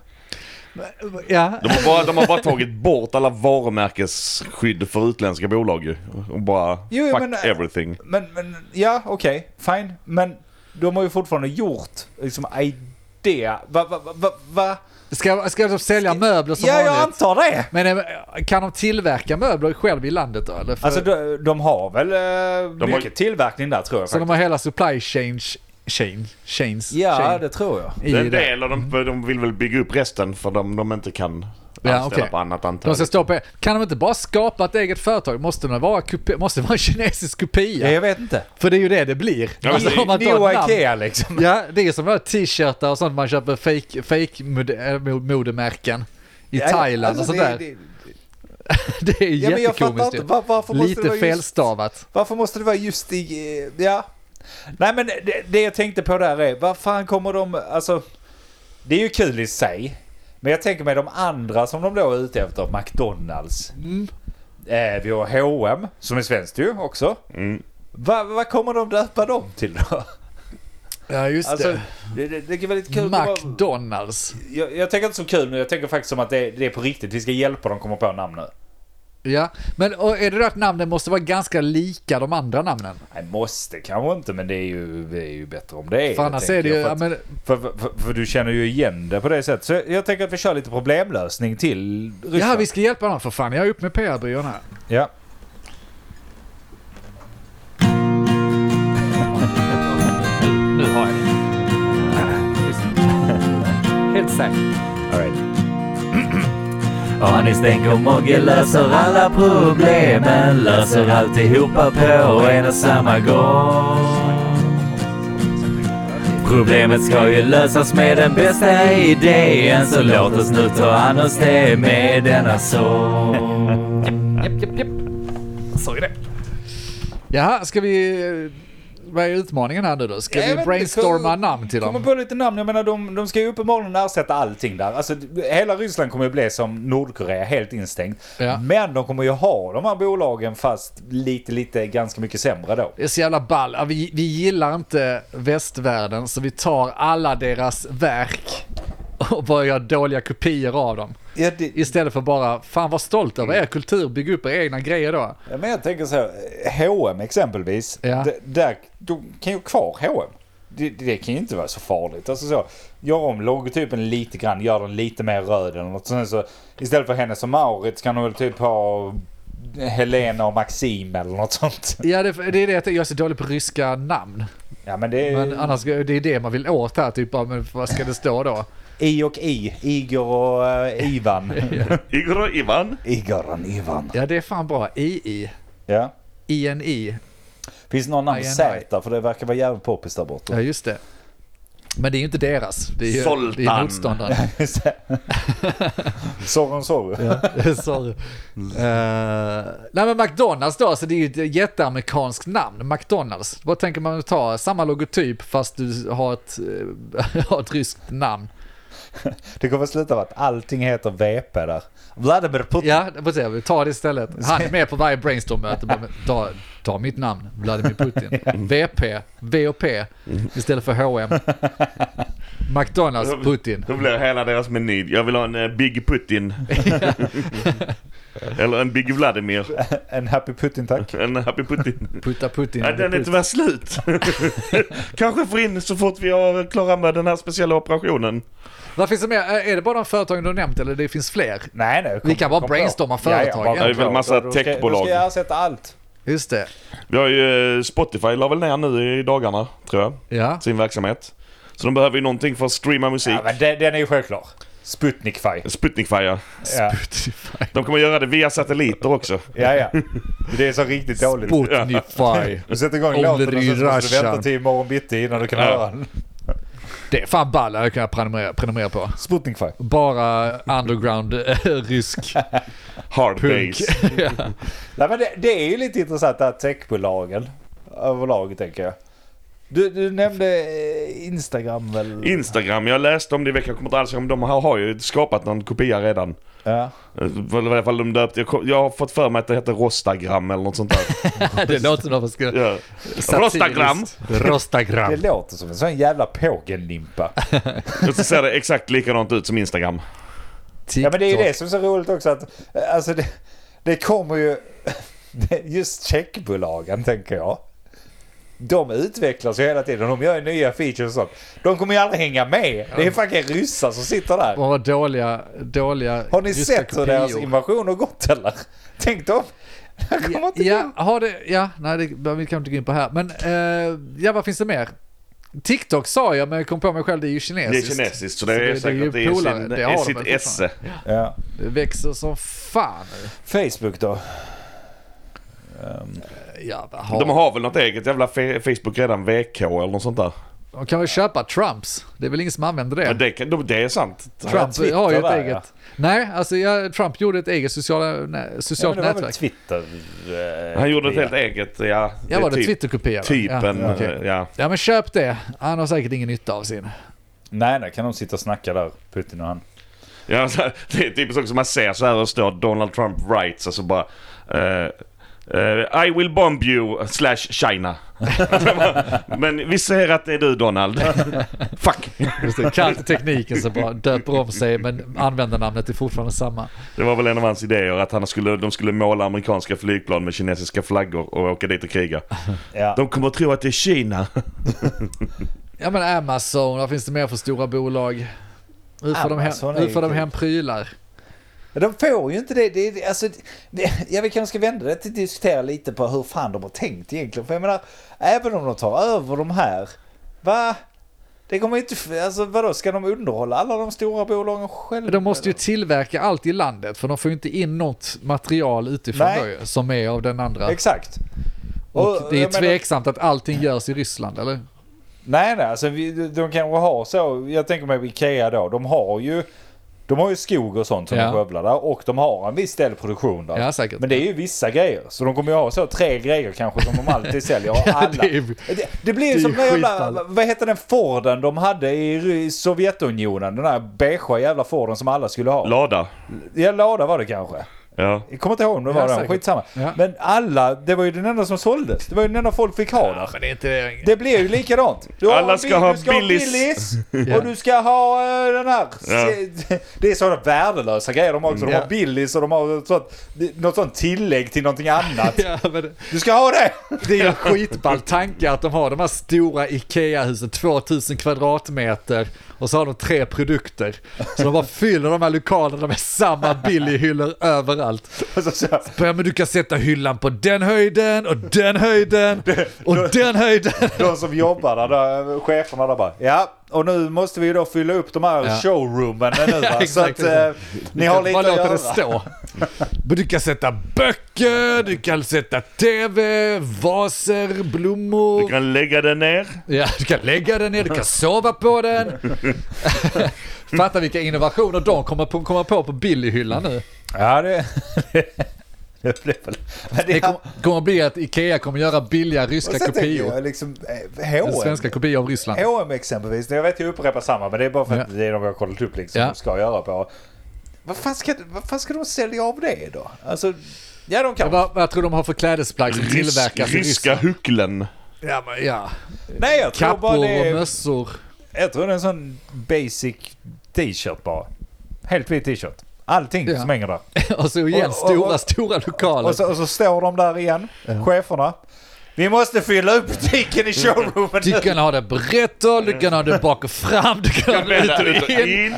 ja. De har, bara, de har bara tagit bort alla varumärkesskydd för utländska bolag ju. Och bara Jo, fuck men- everything. Men, men ja, okej, fine. Men de har ju fortfarande gjort liksom Idea. Va, va, va, va, va? Ska, ska de sälja möbler som Ja, jag vanligt? antar det. Men eh, kan de tillverka möbler själv i landet då? Eller? För, Alltså de, de har väl eh, har- mycket tillverkning där tror jag så faktiskt. de har hela supply chain, chain, chains Ja, chain, det tror jag. i Det är en det. del och de, de vill väl bygga upp resten för de, de inte kan Ja, anställa okej. på annat antal. De ska stå på, kan de inte bara skapa ett eget företag? Måste det vara, kopi- måste det vara en kinesisk kopia? Ja, jag vet inte. För det är ju det det blir. Alltså, Ja, men det- om man tar Neo ett namn- Ikea liksom. Ja, det är som de här t-shirtar och sånt man köper fake, fake mode, äh, modemärken i Ja, Thailand och sånt där. liksom. Alltså, det- Det, det- är Ja, men jag fattar jättekomiskt inte. ju. Var, varför, måste det Lite vara just, felstavat. varför måste det vara just i... eh, Ja. Nej men det, det jag tänkte på där är, vad fan kommer de... Alltså, det är ju kul i sig. Men jag tänker mig de andra som de då är ute efter. McDonalds. Eh, vi har H&M som är svenskt ju också. Mm. Va- Vad kommer de döpa dem till då? Ja, just Alltså, det, det, det är väldigt kul. det. att vara- McDonalds. Jag, jag tänker inte så kul nu, jag tänker faktiskt som att det, det är på riktigt. Vi ska hjälpa dem komma på namn nu. Ja, men och är det då att namnen måste vara ganska lika de andra namnen? Nej, måste kanske inte, men det är ju, det är ju bättre om det. För annars tänker är det ju... jag, Ja, För, att- men, för, för, för, för du känner ju igen det på det sättet. Så jag, jag tänker att vi kör lite problemlösning till Ryssland. ja, vi ska hjälpa dem för fan. Jag är uppe med PR-byrån här. Ja. Nu har jag det. Helt säkert. All right. Ja, ni tänker Mogge löser alla problemen Löser alltihopa på en och samma gång Problemet ska ju lösas med den bästa idén Så låt oss nu ta an oss det med denna sång Såg det. Jaha, ska vi... eh, Vad är utmaningen här nu då? Ska Jag vet vi inte, brainstorma kom- namn till Kommer dem? på lite namn. Jag menar, de, de ska ju uppenbarligen ersätta allting där. Alltså, hela Ryssland kommer ju bli som Nordkorea, helt instängt. Ja. Men de kommer ju ha de här bolagen, fast lite, lite, ganska mycket sämre då. Det är så jävla ball. Ja, Vi, vi gillar inte västvärlden så vi tar alla deras verk och bara gör dåliga kopior av dem. Ja, det, Istället för bara, fan var stolt över er kultur, bygg upp era egna grejer då. Ja, men jag tänker så här, H&M exempelvis. Ja. d- Där, de kan ju ha kvar H&M. det, det kan ju inte vara så farligt. Alltså så, gör om logotypen lite grann, gör den lite mer röd eller något. Sen så, istället för henne som Maurits kan hon väl typ ha Helena och Maxim eller något sånt. Ja, det, det är det att jag är så dålig på ryska namn. Ja men det är Men annars, det är det man vill åt här, typ, ja, men vad ska det stå då? I och I. Igor och eh, Ivan. Igor och Ivan. Igor och Ivan. Ja, det är fan bra. II. Ja. INI. Finns det någon namn I and Z för det verkar vara jävligt poppis där borta. Ja, just det. Men det är ju inte deras. Det är ju Zoltan. det är motståndaren. Sorron Sorry. Sorry. Eh, nej men McDonalds då, så det är ju ett jätteamerikanskt namn, McDonalds. Vad tänker man ta? Samma logotyp fast du har ett, eh, har ett ryskt namn. Det kommer sluta med att allting heter VP där. Vladimir Putin. Ja, det får se, vi tar det istället. Han är med på varje brainstorm-möte. bara, men Ta, ta mitt namn, Vladimir Putin. VP, VOP istället för H&M McDonalds Putin. Då blir hela deras meny. Jag vill ha en eh, Big Putin. Eller en Big Vladimir. En Happy Putin tack. En Happy Putin. Putta Putin. Ja, den är tyvärr slut. Kanske får in så fort vi har klara med den här speciella operationen. Vad finns det mer? Eh, Är det bara de företagen du har nämnt eller det finns fler? Nej, nej. kom- Vi kan bara kom brainstorma på. Ja, ja, företag. bara Det är väl kom på. massa Då ska- techbolag. Då ska jag ersätta allt. Just det. Vi har ju eh, Spotify la väl ner nu i dagarna, tror jag. Ja. Sin verksamhet. Så de behöver ju någonting för att streama musik. Ja, men den, den är ju självklar. Sputnikfaj. Sputnikfire. ja. Ja, Spotify. De kommer göra det via satelliter också. ja. ja. Det är så riktigt dåligt. Spotify. Du sätter igång Olli låten och så måste du Raschan. vänta till imorgon bitti innan du kan Ja. höra den. Det är fan ball jag kan prenumerera, prenumerera på. Sputnikfaj. Bara underground eh, rysk Hard punk. bass. ja. Nej, men det, det är ju lite intressant det här techbolagen överlag tänker jag. Du, du nämnde eh, Instagram väl? Instagram, jag läste om det i veckan, jag kommer inte alls ihåg om de har, har ju skapat någon kopia redan. ja. Eh, I alla fall de döpte, jag, kom- jag har fått för mig att det heter Rostagram eller något sånt där. det låter som något man ska... Ja. Rostagram! Satiriskt. Rostagram. Det låter som en sån jävla pågenlimpa. Och så ser det exakt likadant ut som Instagram. Ja men det är ju det som är så roligt också att eh, alltså det, det kommer ju det- just checkbolagen tänker jag. De utvecklas ju hela tiden. De gör ju nya features och sånt. De kommer ju aldrig hänga med. Det är fucking ryssar som sitter där. Bara dåliga, dåliga Har ni ryska sett hur deras kopior. invasion har gått eller? Tänk dem. Det här kommer inte Ja, har det, ja, nej det behöver vi kanske inte gå in på här. Men eh, ja, vad finns det mer? TikTok sa jag, men jag kom på mig själv, det är ju Det är kinesiskt. kinesiskt så det är ju säkert det är polare, sin, det det har är de sitt väl esse. Ja. Det växer som fan. Facebook då? Ja, vad har De de? har väl något eget jävla fe- Facebook redan, VK eller något sånt där. De kan väl köpa Trumps? Det är väl ingen som använder det? Men det, kan, de- det är sant. Trump Twitter har ju ett där, eget. ja. Nej, alltså ja, Trump gjorde ett eget sociala, nä, Ja, socialt men det var väl nätverk. Twitter? eh, Han gjorde ett kopia. helt eget, ja. Ja, var det typ- Twitterkopia? va? Ja, Typen, ja. eh, okej. ja, men köp det. Han har säkert ingen nytta av sin. Nej, nej, kan de sitta och snacka där, Putin och han. Ja, så här, det är typ så som man ser så här och står Donald Trump writes och så bara... eh, eh, I will bomb you slash China. Men vi ser att det är du Donald. Fuck! Just det, kan inte tekniken så bara döper om sig men användarnamnet är fortfarande samma. Det var väl en av hans idéer att han skulle, de skulle måla amerikanska flygplan med kinesiska flaggor och åka dit och kriga. Ja. De kommer att tro att det är Kina. Ja men Amazon, vad finns det mer för stora bolag? Hur får de hem, Amazon är hur ju får de kul. hem prylar? Men De får ju inte det. det, är- alltså, det jag vill kanske ska vända det till att diskutera lite på hur fan de har tänkt egentligen. För jag menar, även om de tar över de här, va? Det kommer inte, alltså vadå, ska de underhålla alla de stora bolagen själva? De måste ju tillverka allt i landet för de får ju inte in något material utifrån Nej. då, ju, som är av den andra. Exakt. Och det är jag menar- tveksamt att allting görs i Ryssland eller? Nej, nej, alltså vi, de kanske har så. Jag tänker mig Ikea då. De har ju, de har ju skog och sånt som Ja. de skövlar där och de har en viss del produktion där. Ja säkert. Men det är ju vissa grejer. Så de kommer ju ha så tre grejer kanske som de alltid säljer. Och Ja, alla. det är- Det, det blir ju Det är som ju den jävla, skitball. vad heter den Forden de hade i Ry- Sovjetunionen? Den där beigea jävla Forden som alla skulle ha. Lada. ja, Lada var det kanske. Ja. Jag kommer inte ihåg om det Ja, var den, säkert. skitsamma. Ja. Men alla, det var ju den enda som såldes. Det var ju den enda folk fick ha där. men det är inte det. Det blir ju likadant. Du har Alla en ska bil, ha du ska Billys. Ha Billys Ja. och du ska ha eh, den här. Ja. Det är sådana värdelösa grejer de har också. De Ja. har Billys och de har något sånt, något sånt tillägg till någonting annat. Ja, men det- Du ska ha det! det är ju en skitball tanke att de har de här stora IKEA-husen, 2000 kvadratmeter och så har de tre produkter. Så de bara fyller de här lokalerna med samma Billy-hyllor överallt. Och så, så, Ja, men du kan sätta hyllan på den höjden och den höjden och den höjden. de som jobbar där, där, cheferna där bara ja. Och nu måste vi ju då fylla upp de här Ja. showroomen nu va? Ja, Så att exakt. eh, ni har lite Bara att låta göra. det stå. Men du kan sätta böcker, du kan sätta tv, vaser, blommor. Du kan lägga den ner. Ja, du kan lägga den ner, du kan sova på den. Fatta vilka innovationer de kommer på, kommer på på Billy-hyllan nu. Ja det... det blev väl... Men Det det kommer, kommer bli att Ikea kommer göra billiga ryska Och sen tänker kopior. jag liksom, eh, Eller H&M. Svenska kopior av Ryssland. H&M exempelvis, jag vet jag upprepar samma men det är bara för att Ja. det är de vi har kollat upp liksom, Ja. de ska göra på. Vad fan ska, vad fan ska de sälja av det då? Alltså, ja de kan. Vad, vad tror du de har för klädesplagg som tillverkas i ryska Ryssland? hucklen. Ja, men, ja. Nej jag tror bara Kappor och det är, mössor. jag tror det är en sån basic t-shirt bara. Helt vit t-shirt. Allting Ja. som hänger där. Och så igen, Och- och- stora, och- stora lokaler. Och så, och så står de där igen, cheferna. Vi måste fylla upp butiken i showroomen du nu. kan ha det brett och du kan ha det bak och fram, du kan ha det ut Vända ut och och in. in.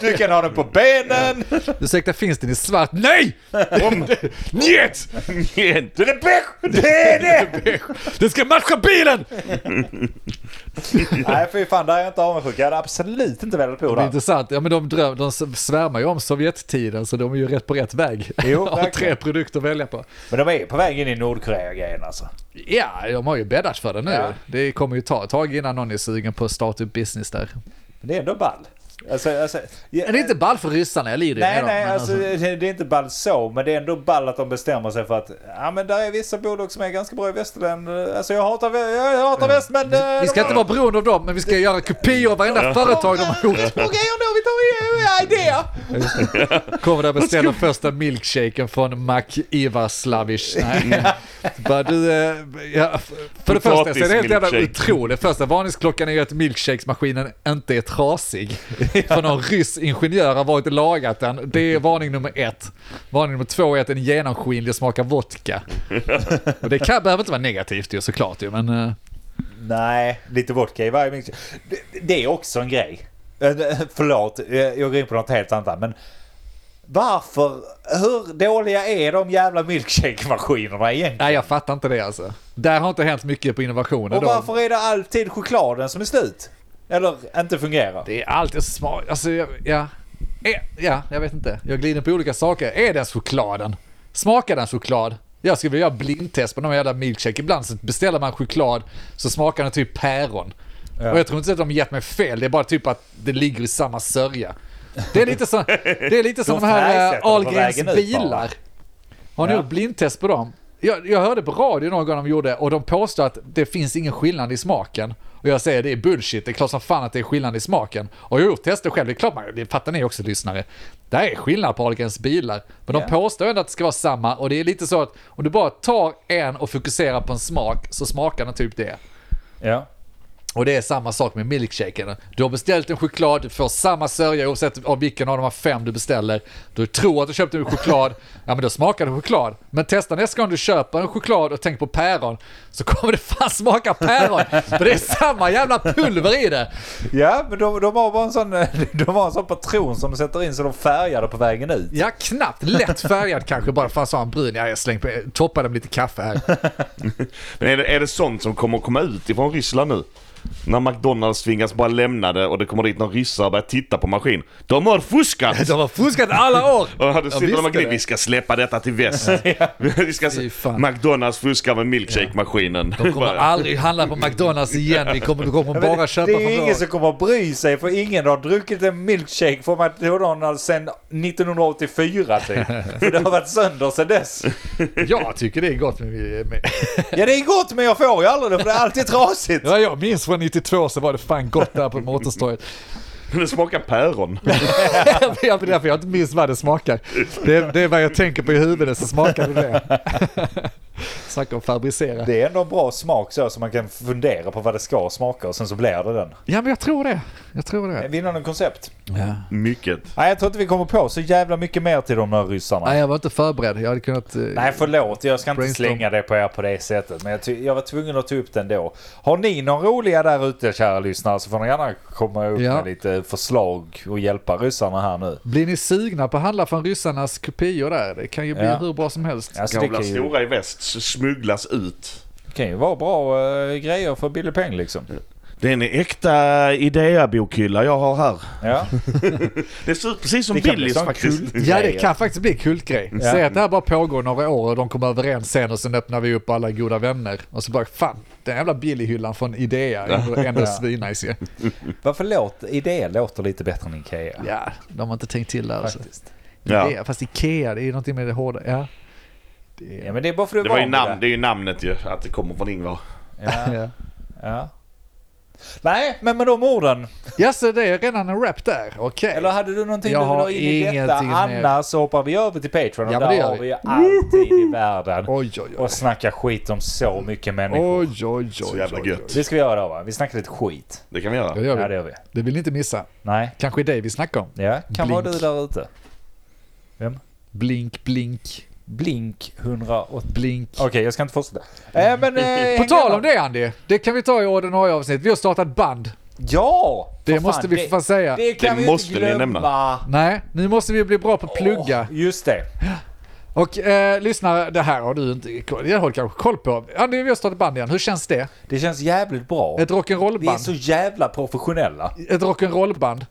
Du kan ha den på benen. Ursäkta, finns den i svart? Nej! Om. Njet! Njet! Det är beige! Det är det! Den ska matcha bilen! Nej fy fan, där är jag inte avundsjuk. Jag hade absolut inte velat bo Det är där. intressant. Ja, men de, dröm, de svärmar ju om Sovjettiden, så de är ju rätt på rätt väg. Jo, har tre verkligen. produkter att välja på. Men de är på väg in i Nordkorea-grejen alltså. Ja, de har ju bäddat för det nu. Ja. Det kommer ju ta ett tag innan någon är sugen på att starta upp business där. Men det är ändå ball. Alltså, alltså, Men det är inte ball för ryssarna, jag lider ju Nej, med dem, nej, men alltså, det det är inte ball så, men det är ändå ball att de bestämmer sig för att ja, men där är vissa bolag som är ganska bra i västerland. Alltså jag hatar, vä- jag hatar väst, men... eh, Vi ska de- inte vara beroende av dem, men vi ska göra kopior av varenda företag de har gjort. Okej, då vi tar eh, idéer. Kommer där och beställer första milkshaken från Mac Ivar Slavish. Mm. Nej. Bara du, eh, ja, för det första så är det helt jävla Potatis-milkshake. otroligt. Första varningsklockan är ju att milkshakesmaskinen inte är trasig. För någon ryss ingenjör har varit och lagat den. Det är varning nummer ett. Varning nummer två är att den är genomskinlig och smakar vodka. Och det kan, behöver inte vara negativt ju såklart ju, men... eh, Nej, lite vodka i varje mix. Det, det är också en grej. Eh, Förlåt, eh, jag går in på något helt annat här, men varför, hur dåliga är de jävla milkshake-maskinerna egentligen? Nej, jag fattar inte det alltså. Där har inte hänt mycket på innovationen. Och då. varför är det alltid chokladen som är slut? Eller inte fungerar? Det är alltid smak. Alltså, jag- ja. Eh, Ja, jag vet inte. Jag glider på olika saker. Är den chokladen? Smakar den choklad? Jag skulle vilja göra blindtest på någon jävla milkshake. Ibland så beställer man choklad så smakar den typ päron. Och jag tror inte att de gett mig fel. Det är bara typ att det ligger i samma sörja. Det är lite som, det är lite som De de här färgsätter eh, dem på Ahlgrens vägen ut bara. bilar. Har ni Ja. gjort blindtest på dem? Jag, jag hörde på radio någon gång de gjorde och de påstår att det finns ingen skillnad i smaken. Och jag säger det är bullshit, det är klart som fan att det är skillnad i smaken. Och jag har gjort tester själv, det är klart man, det fattar ni också lyssnare. Det här är skillnad på Ahlgrens bilar. Men de Ja. påstår ändå att det ska vara samma och det är lite så att om du bara tar en och fokuserar på en smak så smakar den typ det. Ja. Och det är samma sak med milkshaken. Du har beställt en choklad, du får samma sörja oavsett av vilken av de här fem du beställer. Du tror att du köpte en choklad, ja men då smakar det choklad. Men testa nästa gång du köper en choklad och tänk på päron, så kommer det fan smaka päron. För det är samma jävla pulver i det. Ja, men de, de har bara en sån, eh, de har en sån patron som de sätter in så de färgar det på vägen ut. Ja, knappt. Lätt färgad kanske, bara fan så har han brun. Ja, jag slänger på, toppar den med lite kaffe här. Men är det, är det sånt som kommer att komma ut ifrån Ryssland nu? När McDonalds tvingas bara lämna det och det kommer dit någon ryssar och börjar titta på maskin. De har fuskat! De har fuskat alla år. Och hade sitter de visste och grejer, det. vi ska släppa detta till väst. vi ska Fy se. fan. McDonalds fuskar med milkshake-maskinen. De kommer aldrig handla på McDonalds igen. Vi kommer, de kommer Men bara det, köpa det är från ju vår- ingen som kommer att bry sig för ingen har druckit en milkshake från McDonalds sedan 1984 typ. För det har varit sönder sedan dess. Jag tycker det är gott med, med, Ja det är gott men jag får ju aldrig det för det är alltid trasigt. Ja, jag minns från 92 så var det fan gott där på Motorstorget. Men det smakar päron. det är därför jag inte minns vad det smakar. Det, det är vad jag tänker på i huvudet så smakar det det. Snacka om fabricera. Det är ändå en bra smak så, så man kan fundera på vad det ska smaka och sen så blir det den. Ja men jag tror det. Jag tror det. Vinnande koncept. Ja. Mycket. Nej, jag tror inte vi kommer på så jävla mycket mer till de där ryssarna. Nej Nej, jag var inte förberedd. Jag hade kunnat... eh, förlåt. Jag ska inte Brainstorm. slänga det på er på det sättet. Men jag, ty- jag var tvungen att ta upp den då. Har ni någon roliga där ute, kära lyssnare, så får ni gärna komma upp Ja. med lite förslag och hjälpa ryssarna här nu. Blir ni sugna på att handla från ryssarnas kopior där? Det kan ju bli Ja. hur bra som helst. Alltså, det Gamla kan ju, stora i väst s- smugglas ut. kan ju vara bra eh, grejer för billig peng liksom. Det är en äkta Idea-bokhylla jag har här. Ja. Det ser ut precis som Det kan bli Billys sån faktiskt. kult- Ja det grejer. kan faktiskt bli kultgrej. Ja. Säg att det här bara pågår några år och de kommer överens sen och sen öppnar vi upp alla goda vänner. Och så bara fan, den jävla Billy-hyllan från Idea är ändå- ändå svinnice ju. Varför låt, idé låter lite bättre än Ikea? Ja, de har inte tänkt till där. Alltså. Faktiskt. Ja. Idea, fast Ikea, det är ju någonting med det hårda. Ja. Ja, men det är bara för att Det, du var van vid ju namn, det är ju namnet ju, att det kommer från Ingvar. Ja. Ja. Ja. Nej, men med de orden. Ja, så det är redan en rap där, okej. Eller hade du någonting Jag du vill ha har in i detta? ingenting mer. Annars så hoppar vi över till Patreon och Ja, men det där gör har vi. vi ju alltid i världen. Oj, oj, oj. Och snackar skit om så mycket människor. Oj, oj, oj. Så jävla oj, oj. gött. Det ska vi göra då va? Vi snackar lite skit. Det kan vi göra. Ja, det gör vi. Ja det gör vi. Det vill ni inte missa. Nej. Kanske är det vi snackar om. Ja, kan vara Blink. du där ute. Vem? Blink, blink, Blink 180. blink. Okej, jag ska inte fortsätta. Äh, men, eh, På häng tal med. om det Andy, det kan vi ta i ordinarie avsnitt. Vi har startat band. Ja! Det för fan, måste vi för fan säga. Det kan Det vi ju måste inte ni glömma. nämna. Nej, nu måste vi bli bra på att plugga. Just det. Och eh, lyssnare, det här har du inte koll Jag har kanske koll på. Andy, vi har startat band igen. Hur känns det? Det känns jävligt bra. Ett Mm. Vi är rock'n'roll-band. så jävla professionella. Ett rock'n'roll-band.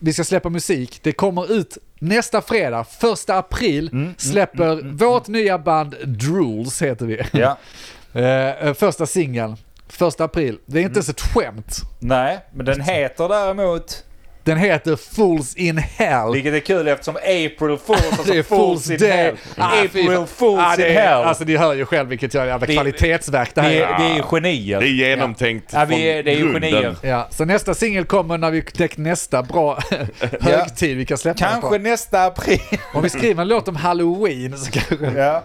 Vi ska släppa musik. Det kommer ut nästa fredag, första april, Mm, släpper vårt nya band Drools, heter vi. Ja. Eh, första singeln, första april. Det är Mm. inte ens ett skämt. Nej, men den heter däremot... Den heter Fools in Hell. Vilket är kul eftersom April Fools, alltså Det är Fools Day. Ah, fy April fan. Fools Ah, det in är- hell. Alltså ni hör ju själv vilket jävla Vi- kvalitetsverk det här vi, är. är, vi är Det är genier. genomtänkt Ja, vi är, det är ju grunden. genier. Ja, så nästa singel kommer när vi knäckt nästa bra högtid vi kan släppa den Kanske på. nästa april. Om vi skriver en låt om halloween så kanske... ja.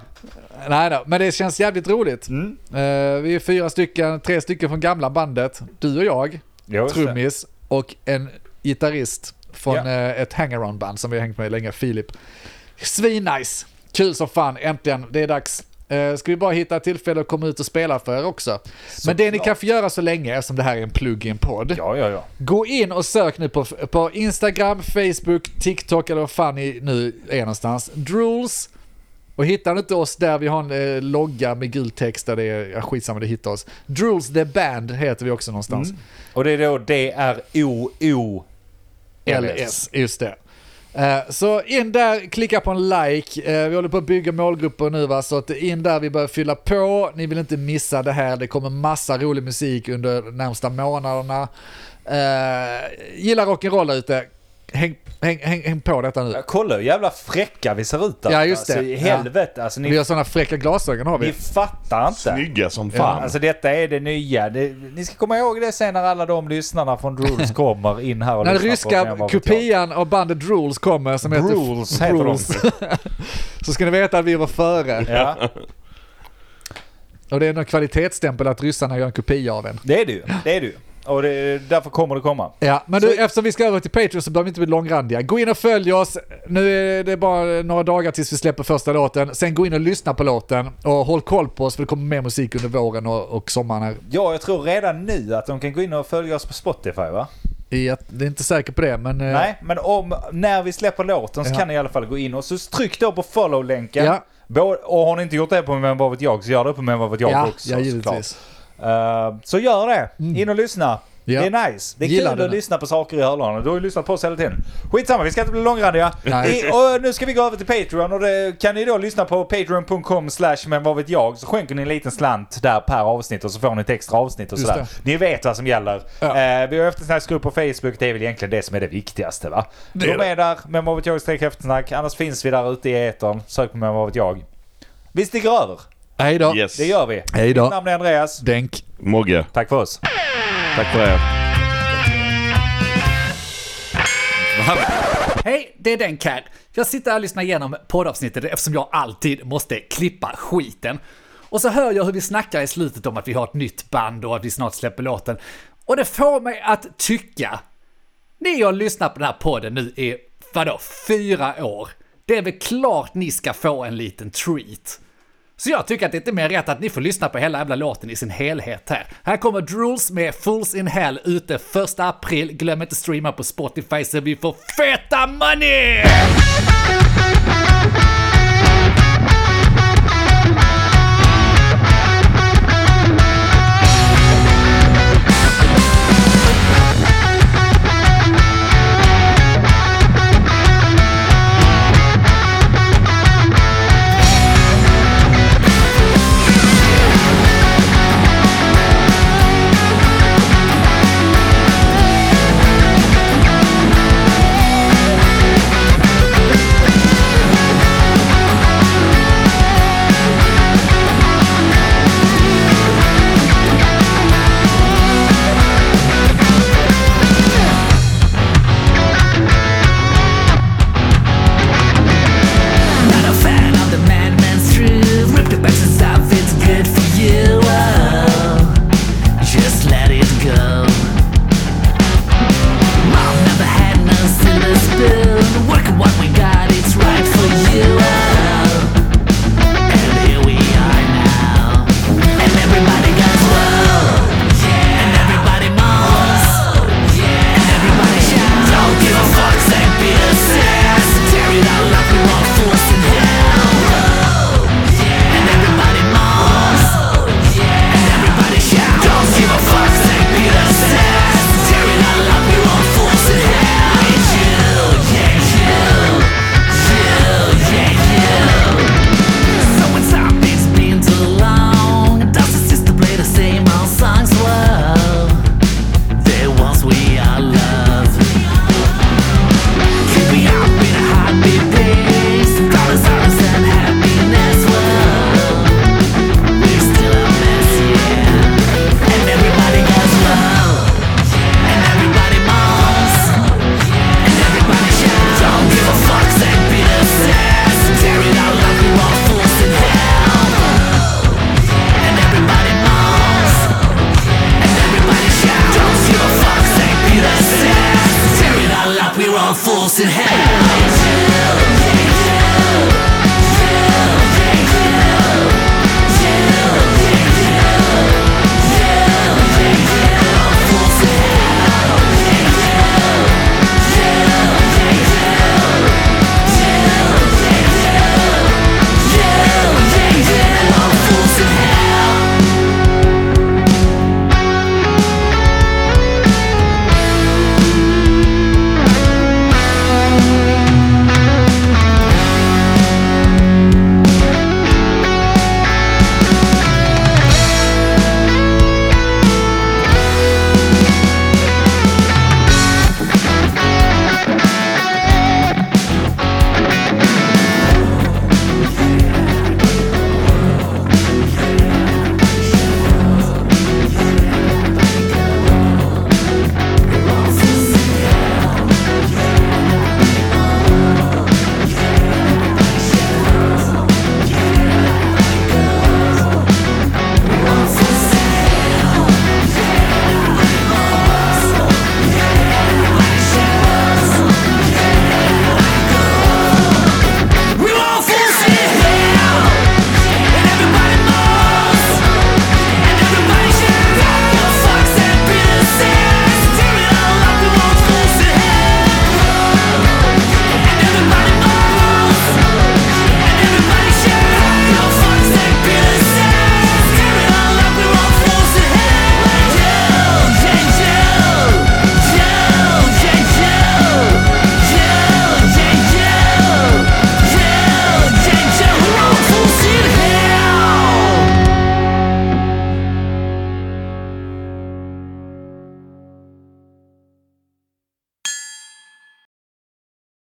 Nej då, men det känns jävligt roligt. Mm. Eh, vi är fyra stycken, tre stycken från gamla bandet. Du och jag, Just det. trummis och en gitarrist från Ja. eh, ett hangaround-band som vi har hängt med länge, Filip. Svinnice! Kul som fan, äntligen, det är dags. Eh, Ska vi bara hitta ett tillfälle att komma ut och spela för er också. Men det ni kan få göra så länge, som det här är en plugg i en podd, Ja, ja, ja. gå in och sök nu på, på Instagram, Facebook, TikTok eller vad fan ni nu är någonstans. Drools. Och hittar ni inte oss där, vi har en eh, logga med gul text där det är, ja, skitsamma det hittar oss. Drools the band heter vi också någonstans. Och det är då D-R-O-O... LS, just det. Eh, Så in där, klicka på en like. Eh, Vi håller på att bygga målgrupper nu va, så att in där vi börjar fylla på. Ni vill inte missa det här, det kommer massa rolig musik under de närmsta månaderna. Eh, Gilla rock'n'roll där ute, häng, häng, häng, häng på detta nu. Ja, kolla hur jävla fräcka vi ser ut där. Ja, just det. Alltså, i helvete. Alltså, Vi ni, har sådana fräcka glasögon har ni vi. fattar inte. Snygga som Ja, fan. alltså detta är det nya. Det, ni ska komma ihåg det sen när alla de lyssnarna från Drools kommer in här och Den lyssnar på oss ryska när jag var på tåg. kopian av bandet Drools kommer som heter... Drools heter de. så ska ni veta att vi var före. Ja, Och det är någon kvalitetsstämpel att ryssarna gör en kopia av en. det är du. Det är du. Och det, därför kommer det komma. Ja, men du, eftersom vi ska över till Patreon så behöver vi inte bli långrandiga. Gå in och följ oss. Nu är det bara några dagar tills vi släpper första låten. Sen gå in och lyssna på låten och håll koll på oss för det kommer mer musik under våren och, och sommaren här. Ja, jag tror redan nu att de kan gå in och följa oss på Spotify va? I att- Det är inte säker på det, men... eh, Nej, men om, när vi släpper låten så Ja. kan ni i alla fall gå in och så tryck då på follow-länken. Ja. Både, och har ni inte gjort det på Men vad vet jag så gör det på Men vad vet jag Ja, också ja, såklart. givetvis. Eh, så gör det. In och lyssna. Mm. Ja. Det är nice. Det är Gillar kul den. att lyssna på saker i hörlurarna. Du har ju lyssnat på oss hela tiden. Skitsamma, vi ska inte bli långrandiga. Nej. I, och nu ska vi gå över till Patreon och det kan ni då lyssna på patreon.com slash men vad vet jag. Så skänker ni en liten slant där per avsnitt och så får ni ett extra avsnitt och Just sådär. Ni vet vad som gäller. Ja. Eh, vi har eftersnacksgrupp på Facebook. Det är väl egentligen det som är det viktigaste va? Det är De är där, men vad vet jag streck eftersnack. Annars finns vi där ute i etern. Sök på men vad vet jag. Vi sticker över. Hej då. Yes. Det gör vi. Hej då. Mitt namn är Andreas. Denk. Mogge, Tack för oss. tack för det. Vad vet- Hej, det är den Cat. Jag sitter här och lyssnar igenom poddavsnittet eftersom jag alltid måste klippa skiten. Och så hör jag hur vi snackar i slutet om att vi har ett nytt band och att vi snart släpper låten. Och det får mig att tycka, ni har lyssnat på den här podden nu i, vadå, fyra år. Det är väl klart ni ska få en liten treat. Så jag tycker att det är inte mer rätt att ni får lyssna på hela jävla låten i sin helhet här. Här kommer Drools med Fools in Hell ute 1 april. Glöm inte streama på Spotify så vi får feta money! Not a fan of the madman's truth. Rip the back off, it's good for you. Oh, just let it go. Mom never had no silver spoon. Work at what we got, it's right for you. Oh, and here we are now. And everybody goes, whoa. Yeah. And everybody moans. "Oh, Yeah. And everybody shouts. Don't give a fuck, St. Peter says. Tear it out like we want force in hell. And everybody moans. And everybody shouts. Don't give a fuck, St. Peter says. Tear it out like we want force in hell. It's you, yeah, you. You, yeah, you. So it's it's been too long. Does it just to play the same old songs? Well, the ones we all love. Keeping up with a heartbeat pace, colors, arms, and happiness. Well, we're still a mess, yeah. And everybody goes well, and everybody moans. And everybody shouts, don't give a fuck, St. Peter says. Tear it out like we all fools in hell. And everybody moans. And everybody shouts, don't give a fuck, St. Peter says. Tear it out like we all fools in hell.